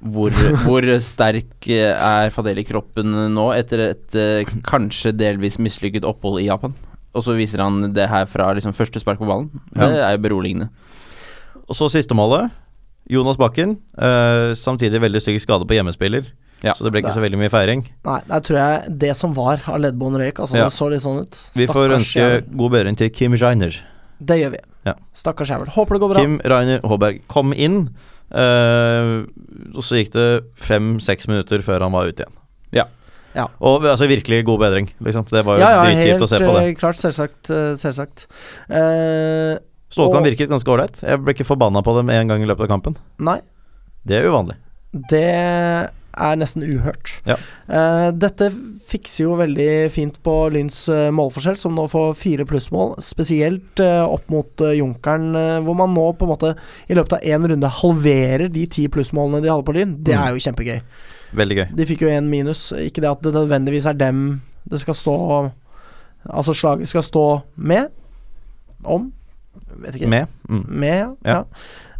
[SPEAKER 2] <laughs>
[SPEAKER 1] hvor, hvor sterk eh, er Fadel i kroppen nå etter et eh, kanskje delvis mislykket opphold i Japan? Og så viser han det her fra liksom første spark på ballen.
[SPEAKER 3] Ja.
[SPEAKER 1] Det er jo beroligende.
[SPEAKER 3] Og så siste målet. Jonas Bakken. eh, samtidig veldig stygg skade på hjemmespiller,
[SPEAKER 1] Ja.
[SPEAKER 3] så det ble ikke
[SPEAKER 2] Det-
[SPEAKER 3] så veldig mye feiring.
[SPEAKER 2] Nei, der tror jeg det som var av leddbånd røyk. Altså,
[SPEAKER 3] Ja.
[SPEAKER 2] Det så litt sånn ut.
[SPEAKER 3] Vi får
[SPEAKER 2] Stakkars
[SPEAKER 3] ønske
[SPEAKER 2] jævel.
[SPEAKER 3] god bedring til Kim Reiner.
[SPEAKER 2] Det gjør vi.
[SPEAKER 3] Ja.
[SPEAKER 2] Stakkars jævel. Håper det går bra.
[SPEAKER 3] Kim Reiner Håberg kom inn, eh, og så gikk det fem-seks minutter før han var ute igjen.
[SPEAKER 1] Ja.
[SPEAKER 2] Ja.
[SPEAKER 3] Og altså virkelig god bedring, liksom. Det var jo
[SPEAKER 2] ja, ja,
[SPEAKER 3] dritkjipt
[SPEAKER 2] helt
[SPEAKER 3] å se på det.
[SPEAKER 2] eh, klart. Selvsagt. eh, Selvsagt. Eh,
[SPEAKER 3] Stålkamp
[SPEAKER 2] og-
[SPEAKER 3] virket ganske ålreit. Jeg ble ikke forbanna på dem en gang i løpet av kampen.
[SPEAKER 2] nei,
[SPEAKER 3] Det er uvanlig.
[SPEAKER 2] det er nesten uhørt.
[SPEAKER 3] Ja.
[SPEAKER 2] Eh, dette fikser jo veldig fint på Lyns eh, målforskjell, som nå får fire plussmål. Spesielt eh, opp mot eh, Junkeren, eh, hvor man nå på en måte i løpet av én runde halverer de ti plussmålene de hadde på Lyn. Det
[SPEAKER 3] Mm.
[SPEAKER 2] er jo kjempegøy.
[SPEAKER 3] Veldig gøy.
[SPEAKER 2] De fikk jo én minus. Ikke det at det nødvendigvis er dem det skal stå Altså slaget skal stå med. Om. Vet ikke.
[SPEAKER 3] Med. Mm.
[SPEAKER 2] Med, ja. ja.
[SPEAKER 3] Ja.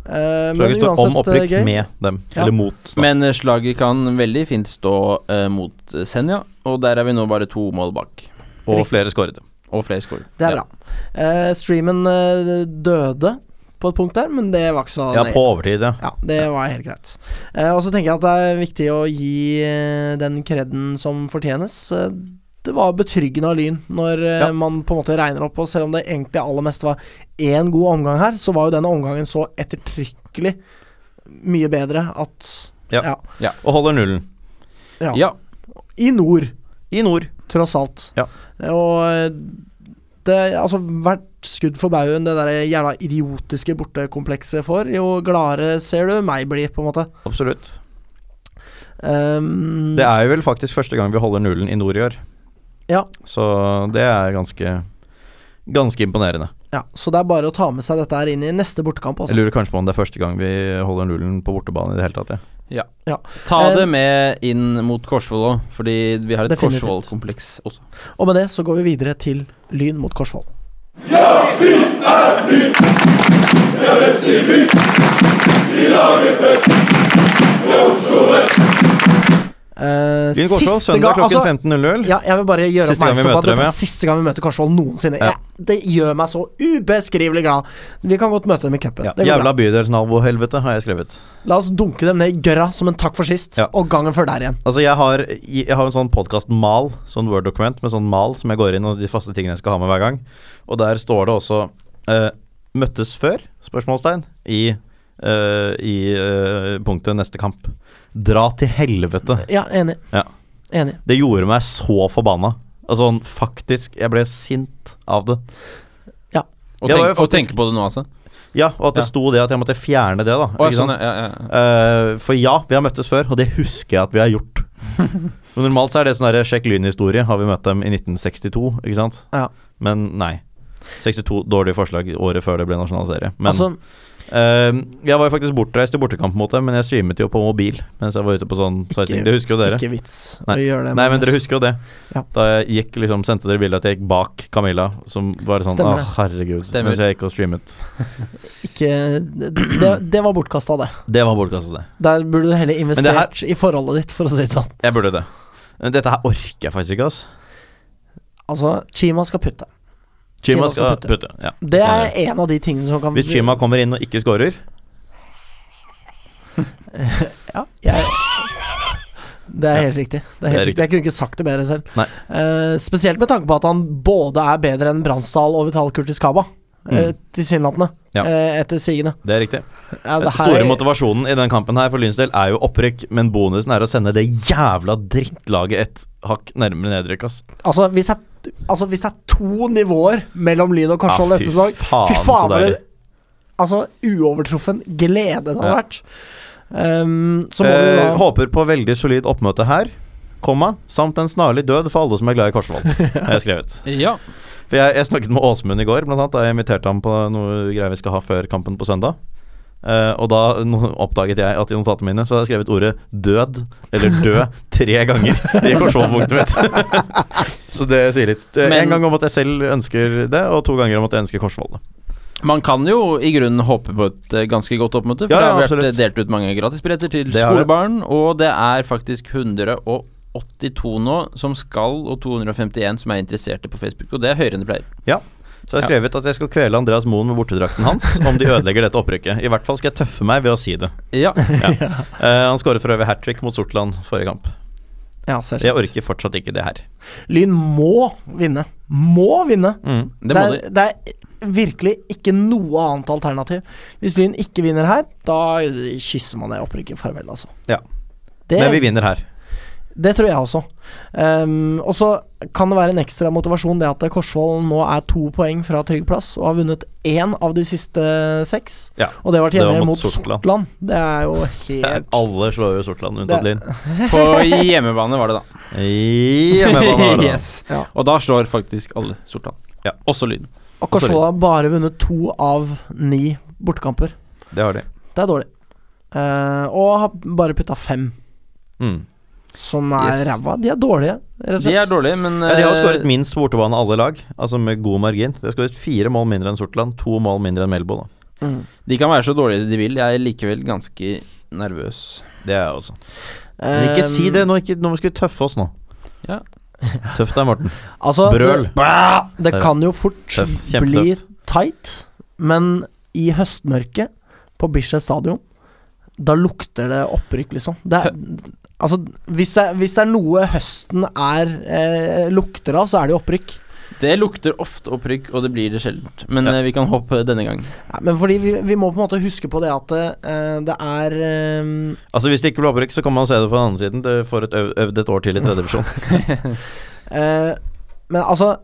[SPEAKER 2] Eh,
[SPEAKER 3] Slaget
[SPEAKER 2] men
[SPEAKER 3] står om
[SPEAKER 2] uansett,
[SPEAKER 3] opprykk
[SPEAKER 2] eh, gøy.
[SPEAKER 3] med dem,
[SPEAKER 2] Ja.
[SPEAKER 3] eller mot. Da.
[SPEAKER 1] Men eh, slaget kan veldig fint stå eh, mot eh, Senja, og der er vi nå bare to mål bak.
[SPEAKER 3] Og flere skåret.
[SPEAKER 1] Og flere skårer.
[SPEAKER 2] Det er
[SPEAKER 1] Ja.
[SPEAKER 2] bra. Eh, streamen eh, døde på et punkt der, men det var ikke så
[SPEAKER 3] Ja,
[SPEAKER 2] nøye.
[SPEAKER 3] på overtid, ja.
[SPEAKER 2] Ja, det var helt greit. Eh, og så tenker jeg at det er viktig å gi eh, den kreden som fortjenes. Eh, det var betryggende av Lyn når eh,
[SPEAKER 3] Ja.
[SPEAKER 2] man på en måte regner opp, og selv om det egentlig aller mest var én god omgang her, så var jo denne omgangen så ettertrykkelig mye bedre at
[SPEAKER 3] Ja.
[SPEAKER 2] ja.
[SPEAKER 3] Og holder nullen.
[SPEAKER 2] ja.
[SPEAKER 1] Ja.
[SPEAKER 2] I nord,
[SPEAKER 3] I nord.
[SPEAKER 2] tross alt.
[SPEAKER 3] Ja.
[SPEAKER 2] Og eh, det Altså, hvert skudd for baugen det der jævla idiotiske bortekomplekset får, jo gladere ser du meg bli, på en måte.
[SPEAKER 3] Absolutt.
[SPEAKER 2] Um,
[SPEAKER 3] Det er jo vel faktisk første gang vi holder nullen i nord i år.
[SPEAKER 2] Ja.
[SPEAKER 3] Så det er ganske Ganske imponerende.
[SPEAKER 2] ja, så det er bare å ta med seg dette her inn i neste bortekamp. altså.
[SPEAKER 3] Jeg
[SPEAKER 2] Også.
[SPEAKER 3] lurer kanskje på om det er første gang vi holder nullen på bortebane i det hele tatt. Ja.
[SPEAKER 1] Ta
[SPEAKER 2] Eh,
[SPEAKER 1] det med inn mot Korsvoll òg, fordi vi har et
[SPEAKER 2] Definitivt.
[SPEAKER 1] Korsvoll-kompleks også.
[SPEAKER 2] Og med det så går vi videre til Lyn mot Korsvoll. Ja, vi er by!
[SPEAKER 3] Lyn Korsvoll,
[SPEAKER 2] Eh, siste
[SPEAKER 3] søndag
[SPEAKER 2] gang,
[SPEAKER 3] klokken
[SPEAKER 2] altså,
[SPEAKER 3] 15.00.
[SPEAKER 2] ja, jeg vil bare gjøre
[SPEAKER 3] Siste gang vi
[SPEAKER 2] oppmerksom på at
[SPEAKER 3] møter dem,
[SPEAKER 2] dette er
[SPEAKER 3] ja.
[SPEAKER 2] siste gang vi møter Korsvoll noensinne.
[SPEAKER 3] Ja.
[SPEAKER 2] Jeg, det gjør meg så ubeskrivelig glad. Vi kan godt møte dem i cupen.
[SPEAKER 3] Ja.
[SPEAKER 2] Det går bra.
[SPEAKER 3] Jævla bydelsnabohelvete, har jeg skrevet.
[SPEAKER 2] La oss dunke dem ned i gørra som en takk for sist,
[SPEAKER 3] Ja.
[SPEAKER 2] og gangen før der igjen.
[SPEAKER 3] Altså, jeg har, jeg har en sånn podkast-mal, sånn Word-dokument med sånn mal som jeg går inn og de faste tingene jeg skal ha med hver gang. Og der står det også eh, 'møttes før?' spørsmålstegn i, eh, i eh, punktet 'neste kamp'. Dra til helvete.
[SPEAKER 2] Ja, enig.
[SPEAKER 3] Ja.
[SPEAKER 2] Enig.
[SPEAKER 3] Det gjorde meg så forbanna. Altså, sånn, faktisk, jeg ble sint av det.
[SPEAKER 1] Og,
[SPEAKER 3] Ja, det var
[SPEAKER 1] tenk,
[SPEAKER 3] jo
[SPEAKER 1] og
[SPEAKER 3] faktisk-
[SPEAKER 1] tenke på det nå, altså.
[SPEAKER 3] Ja, og at det
[SPEAKER 1] Ja.
[SPEAKER 3] sto det at jeg måtte fjerne det, da.
[SPEAKER 1] Å,
[SPEAKER 3] ikke
[SPEAKER 1] sånn,
[SPEAKER 3] sant?
[SPEAKER 1] ja, ja, ja.
[SPEAKER 3] Eh, for ja, vi har møttes før, og det husker jeg at vi har gjort. Men normalt så er det sånn der, sjekk lynhistorie, har vi møtt dem i 1962, ikke sant?
[SPEAKER 2] Ja.
[SPEAKER 3] Men nei. 62 dårlig forslag året før det ble nasjonal serie. Men
[SPEAKER 2] altså,
[SPEAKER 3] eh, jeg var jo faktisk bortreist til bortekamp mot dem, men jeg streamet jo på mobil mens jeg var ute på sånn sightseeing. Det husker jo dere.
[SPEAKER 2] ikke vits
[SPEAKER 3] Nei.
[SPEAKER 2] å gjøre det.
[SPEAKER 3] Nei, men dere
[SPEAKER 2] Magnus.
[SPEAKER 3] husker jo det.
[SPEAKER 2] Ja.
[SPEAKER 3] Da jeg gikk, liksom, sendte dere bilde at jeg gikk bak Camilla, som var sånn
[SPEAKER 2] Stemmer
[SPEAKER 3] Å,
[SPEAKER 2] det.
[SPEAKER 3] herregud.
[SPEAKER 1] Stemmer.
[SPEAKER 3] Mens jeg gikk og streamet.
[SPEAKER 2] ikke, det, det var bortkasta, det.
[SPEAKER 3] Det var bortkastet, det.
[SPEAKER 2] Der burde du heller
[SPEAKER 3] det her-
[SPEAKER 2] investert i forholdet ditt, for å si det sånn.
[SPEAKER 3] Jeg burde det. Men Dette her orker jeg faktisk ikke, ass.
[SPEAKER 2] Altså, Chima skal putte.
[SPEAKER 3] Chima skal putte. Ja.
[SPEAKER 2] Det
[SPEAKER 3] Skal
[SPEAKER 2] er
[SPEAKER 3] gjøre.
[SPEAKER 2] en av de tingene som kan
[SPEAKER 3] Hvis Chima kommer inn og ikke scorer
[SPEAKER 2] ja, jeg, Det er helt riktig. Det er helt
[SPEAKER 3] Det er
[SPEAKER 2] riktig. Jeg kunne ikke sagt det bedre selv.
[SPEAKER 3] Nei.
[SPEAKER 2] Eh, spesielt med tanke på at han både er bedre enn Bransdal og Vital Kurtis Kaba. Eh, Tilsynelatende.
[SPEAKER 3] Mm. Ja.
[SPEAKER 2] Eh, etter sigende.
[SPEAKER 3] Det er riktig.
[SPEAKER 2] Ja,
[SPEAKER 3] Den
[SPEAKER 2] det her-
[SPEAKER 3] store motivasjonen i den kampen her for Lyns del er jo opprykk, men bonusen er å sende det jævla drittlaget et hakk nærmere nedrykk, ass.
[SPEAKER 2] Altså, hvis det er, altså, hvis det er to nivåer mellom Lyn og Korsvoll
[SPEAKER 3] Ja, fy
[SPEAKER 2] neste sesong
[SPEAKER 3] faen,
[SPEAKER 2] Fy
[SPEAKER 3] så
[SPEAKER 2] faen, for
[SPEAKER 3] deilig.
[SPEAKER 2] en altså, uovertruffen glede det hadde
[SPEAKER 3] Ja.
[SPEAKER 2] vært. Ehm, så må vi
[SPEAKER 3] Eh,
[SPEAKER 2] da
[SPEAKER 3] håper på veldig solid oppmøte her, komma, samt en snarlig død for alle som er glad
[SPEAKER 2] <laughs>
[SPEAKER 3] i Korsvoll, har jeg skrevet.
[SPEAKER 1] ja.
[SPEAKER 3] For jeg, jeg snakket med Åsmund i går, blant annet. Da jeg inviterte ham på noe greier vi skal ha før kampen på søndag. Eh, og da no, oppdaget jeg at i notatene mine så hadde jeg skrevet ordet 'død' eller 'død' tre ganger i korsvollpunktet mitt. så det sier litt. Eh,
[SPEAKER 1] Men-
[SPEAKER 3] en gang om at jeg selv ønsker det, og to ganger om at jeg ønsker korsvollet.
[SPEAKER 1] Man kan jo i grunnen håpe på et eh, ganske godt oppmøte, for
[SPEAKER 3] Ja, ja,
[SPEAKER 1] det har vært
[SPEAKER 3] absolutt.
[SPEAKER 1] eh, delt ut mange gratisbilletter til
[SPEAKER 3] Det har det.
[SPEAKER 1] skolebarn, og det er faktisk 182 nå som skal, og 251 som er interesserte på Facebook, og det er høyere enn det pleier.
[SPEAKER 3] Ja. Så jeg har skrevet at jeg skal kvele Andreas Moen med bortedrakten hans om de ødelegger dette opprykket. I hvert fall skal jeg tøffe meg ved å si det.
[SPEAKER 1] Ja,
[SPEAKER 3] Eh, han skåret for øvrig hat trick mot Sortland forrige kamp.
[SPEAKER 2] Ja, selvsagt.
[SPEAKER 3] Jeg orker fortsatt ikke det her.
[SPEAKER 2] Lyn må vinne. Må vinne!
[SPEAKER 3] Mm.
[SPEAKER 1] det må de.
[SPEAKER 2] er, det er virkelig ikke noe annet alternativ. Hvis Lyn ikke vinner her, da kysser man det opprykket farvel, altså.
[SPEAKER 3] Ja.
[SPEAKER 2] Det,
[SPEAKER 3] Men vi vinner her.
[SPEAKER 2] det tror jeg også. Ehm, og så kan det være en ekstra motivasjon det at Korsvoll nå er to poeng fra trygg plass og har vunnet én av de siste seks.
[SPEAKER 3] Ja.
[SPEAKER 2] Og det var til
[SPEAKER 3] Det var
[SPEAKER 2] gjengjeld
[SPEAKER 3] mot
[SPEAKER 2] mot
[SPEAKER 3] Sortland.
[SPEAKER 2] Sortland. Det er jo helt
[SPEAKER 3] Alle slår jo Sortland, unntatt
[SPEAKER 2] Det-
[SPEAKER 3] Lyn.
[SPEAKER 1] På hjemmebane var det,
[SPEAKER 3] <laughs>
[SPEAKER 1] da.
[SPEAKER 3] Hjemmebane,
[SPEAKER 1] <laughs>
[SPEAKER 3] da.
[SPEAKER 1] yes.
[SPEAKER 2] Ja.
[SPEAKER 1] Og da slår faktisk alle Sortland.
[SPEAKER 3] Ja.
[SPEAKER 1] Også Lyn.
[SPEAKER 2] Og Korsvoll har bare vunnet to av ni bortekamper.
[SPEAKER 3] Det har de.
[SPEAKER 2] Det er dårlig. Eh, og har bare putta fem.
[SPEAKER 3] Mm.
[SPEAKER 2] Som er
[SPEAKER 1] Yes.
[SPEAKER 2] ræva. De er dårlige, rett og
[SPEAKER 1] De er
[SPEAKER 2] slett.
[SPEAKER 1] dårlige, men
[SPEAKER 3] Ja, de har jo
[SPEAKER 1] eh,
[SPEAKER 3] skåret minst på bortebane, alle lag. Altså med god margin. De har skåret fire mål mindre enn Sortland, to mål mindre enn Melbo. Da.
[SPEAKER 2] Mm.
[SPEAKER 1] de kan være så dårlige de vil. Jeg er likevel ganske nervøs.
[SPEAKER 3] Det er jeg også.
[SPEAKER 2] Eh,
[SPEAKER 3] Men ikke si det, nå, ikke, nå skal vi tøffe oss nå.
[SPEAKER 1] Ja.
[SPEAKER 3] <laughs> Tøff deg, Morten.
[SPEAKER 2] Eh, altså,
[SPEAKER 3] Brøl.
[SPEAKER 2] Det, det kan jo fort
[SPEAKER 3] Tøft.
[SPEAKER 2] bli
[SPEAKER 3] Kjempetøft.
[SPEAKER 2] tight, men i høstmørket på Bislett stadion, da lukter det opprykk, liksom. Det er, altså, hvis det, er- hvis det er noe høsten er eh, lukter av, så er det jo opprykk.
[SPEAKER 1] Det lukter ofte opprykk, og det blir det sjeldent. Men
[SPEAKER 3] Ja.
[SPEAKER 1] eh, vi kan håpe denne gang.
[SPEAKER 2] Nei, men fordi vi, vi må på en måte huske på det at eh, det er eh,
[SPEAKER 3] Altså Hvis det ikke blir opprykk, så kan man se det på den andre siden. Du får et øv, øvd et år til i tredje divisjon.
[SPEAKER 2] Eh, men altså,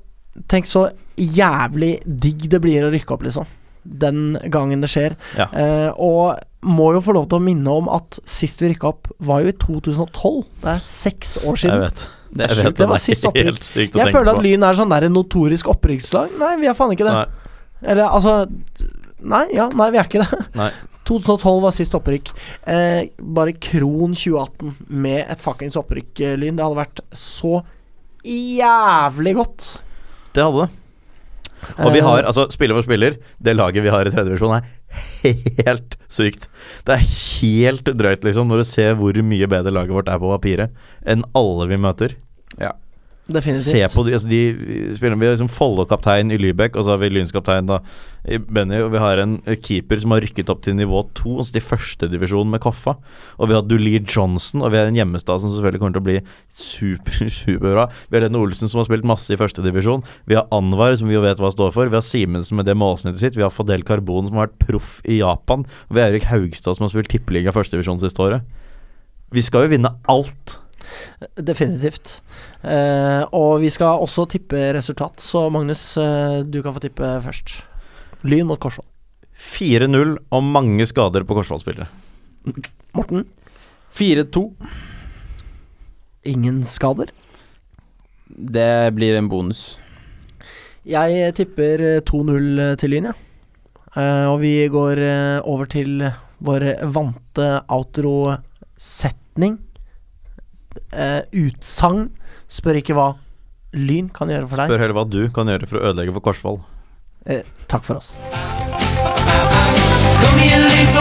[SPEAKER 2] tenk så jævlig digg det blir å rykke opp, liksom. Den gangen det skjer.
[SPEAKER 3] Ja.
[SPEAKER 2] Eh, og må jo få lov til å minne om at sist vi rykka opp, var jo i 2012. Det er seks år
[SPEAKER 3] Jeg
[SPEAKER 2] siden.
[SPEAKER 3] vet.
[SPEAKER 1] Det er
[SPEAKER 3] Jeg vet
[SPEAKER 1] sjukt.
[SPEAKER 2] Det var
[SPEAKER 3] er
[SPEAKER 2] sist opprykk.
[SPEAKER 3] Helt sykt å
[SPEAKER 2] Jeg,
[SPEAKER 3] tenke
[SPEAKER 2] føler at
[SPEAKER 3] på.
[SPEAKER 2] Lyn er sånn der notorisk opprykkslag. Nei, vi er faen ikke det.
[SPEAKER 3] Nei.
[SPEAKER 2] Eller altså Nei, ja, nei, vi er ikke det. <laughs>
[SPEAKER 3] Nei.
[SPEAKER 2] 2012 var sist opprykk. Eh, bare kron 2018 med et fuckings opprykk, eh, Lyn. Det hadde vært så jævlig godt.
[SPEAKER 3] Det hadde det. Og vi har, altså spiller for spiller, det laget vi har i tredje divisjon er helt sykt. Det er helt drøyt, liksom, når du ser hvor mye bedre laget vårt er på papiret enn alle vi møter.
[SPEAKER 2] Definitivt.
[SPEAKER 3] Se på de, altså de spillerne Vi har liksom Follo-kaptein i Lybekk, og så har vi Lyns-kaptein da i Benny. Og vi har en keeper som har rykket opp til nivå to, altså til førstedivisjon med Koffa. Og vi har Dulee Johnson, og vi har en Hjemmestad som selvfølgelig kommer til å bli super, <laughs> superbra. Vi har Lene Olsen som har spilt masse i førstedivisjon. Vi har Anwar, som vi jo vet hva står for. Vi har Simensen med det målsnittet sitt. Vi har Fadel Karbon, som har vært proff i Japan. Og vi har Erik Haugstad, som har spilt tippeliga førstedivisjon siste året. Vi skal jo vinne alt.
[SPEAKER 2] Definitivt. Eh, og vi skal også tippe resultat, så Magnus, eh, du kan få tippe først. Lyn mot Korsvoll.
[SPEAKER 3] 4-0 og mange skader på Korsvoll-spillere.
[SPEAKER 2] Morten,
[SPEAKER 1] 4-2.
[SPEAKER 2] ingen skader.
[SPEAKER 1] Det blir en bonus.
[SPEAKER 2] Jeg tipper eh, 2-0 til Lyn, ja. Eh, og vi går eh, over til vår vante outro-setning. Eh, utsagn. Spør ikke hva Lyn kan gjøre for deg.
[SPEAKER 3] Spør heller hva du kan gjøre for å ødelegge for Korsvoll.
[SPEAKER 2] Eh, takk for oss.
[SPEAKER 6] Kom igjen, lyd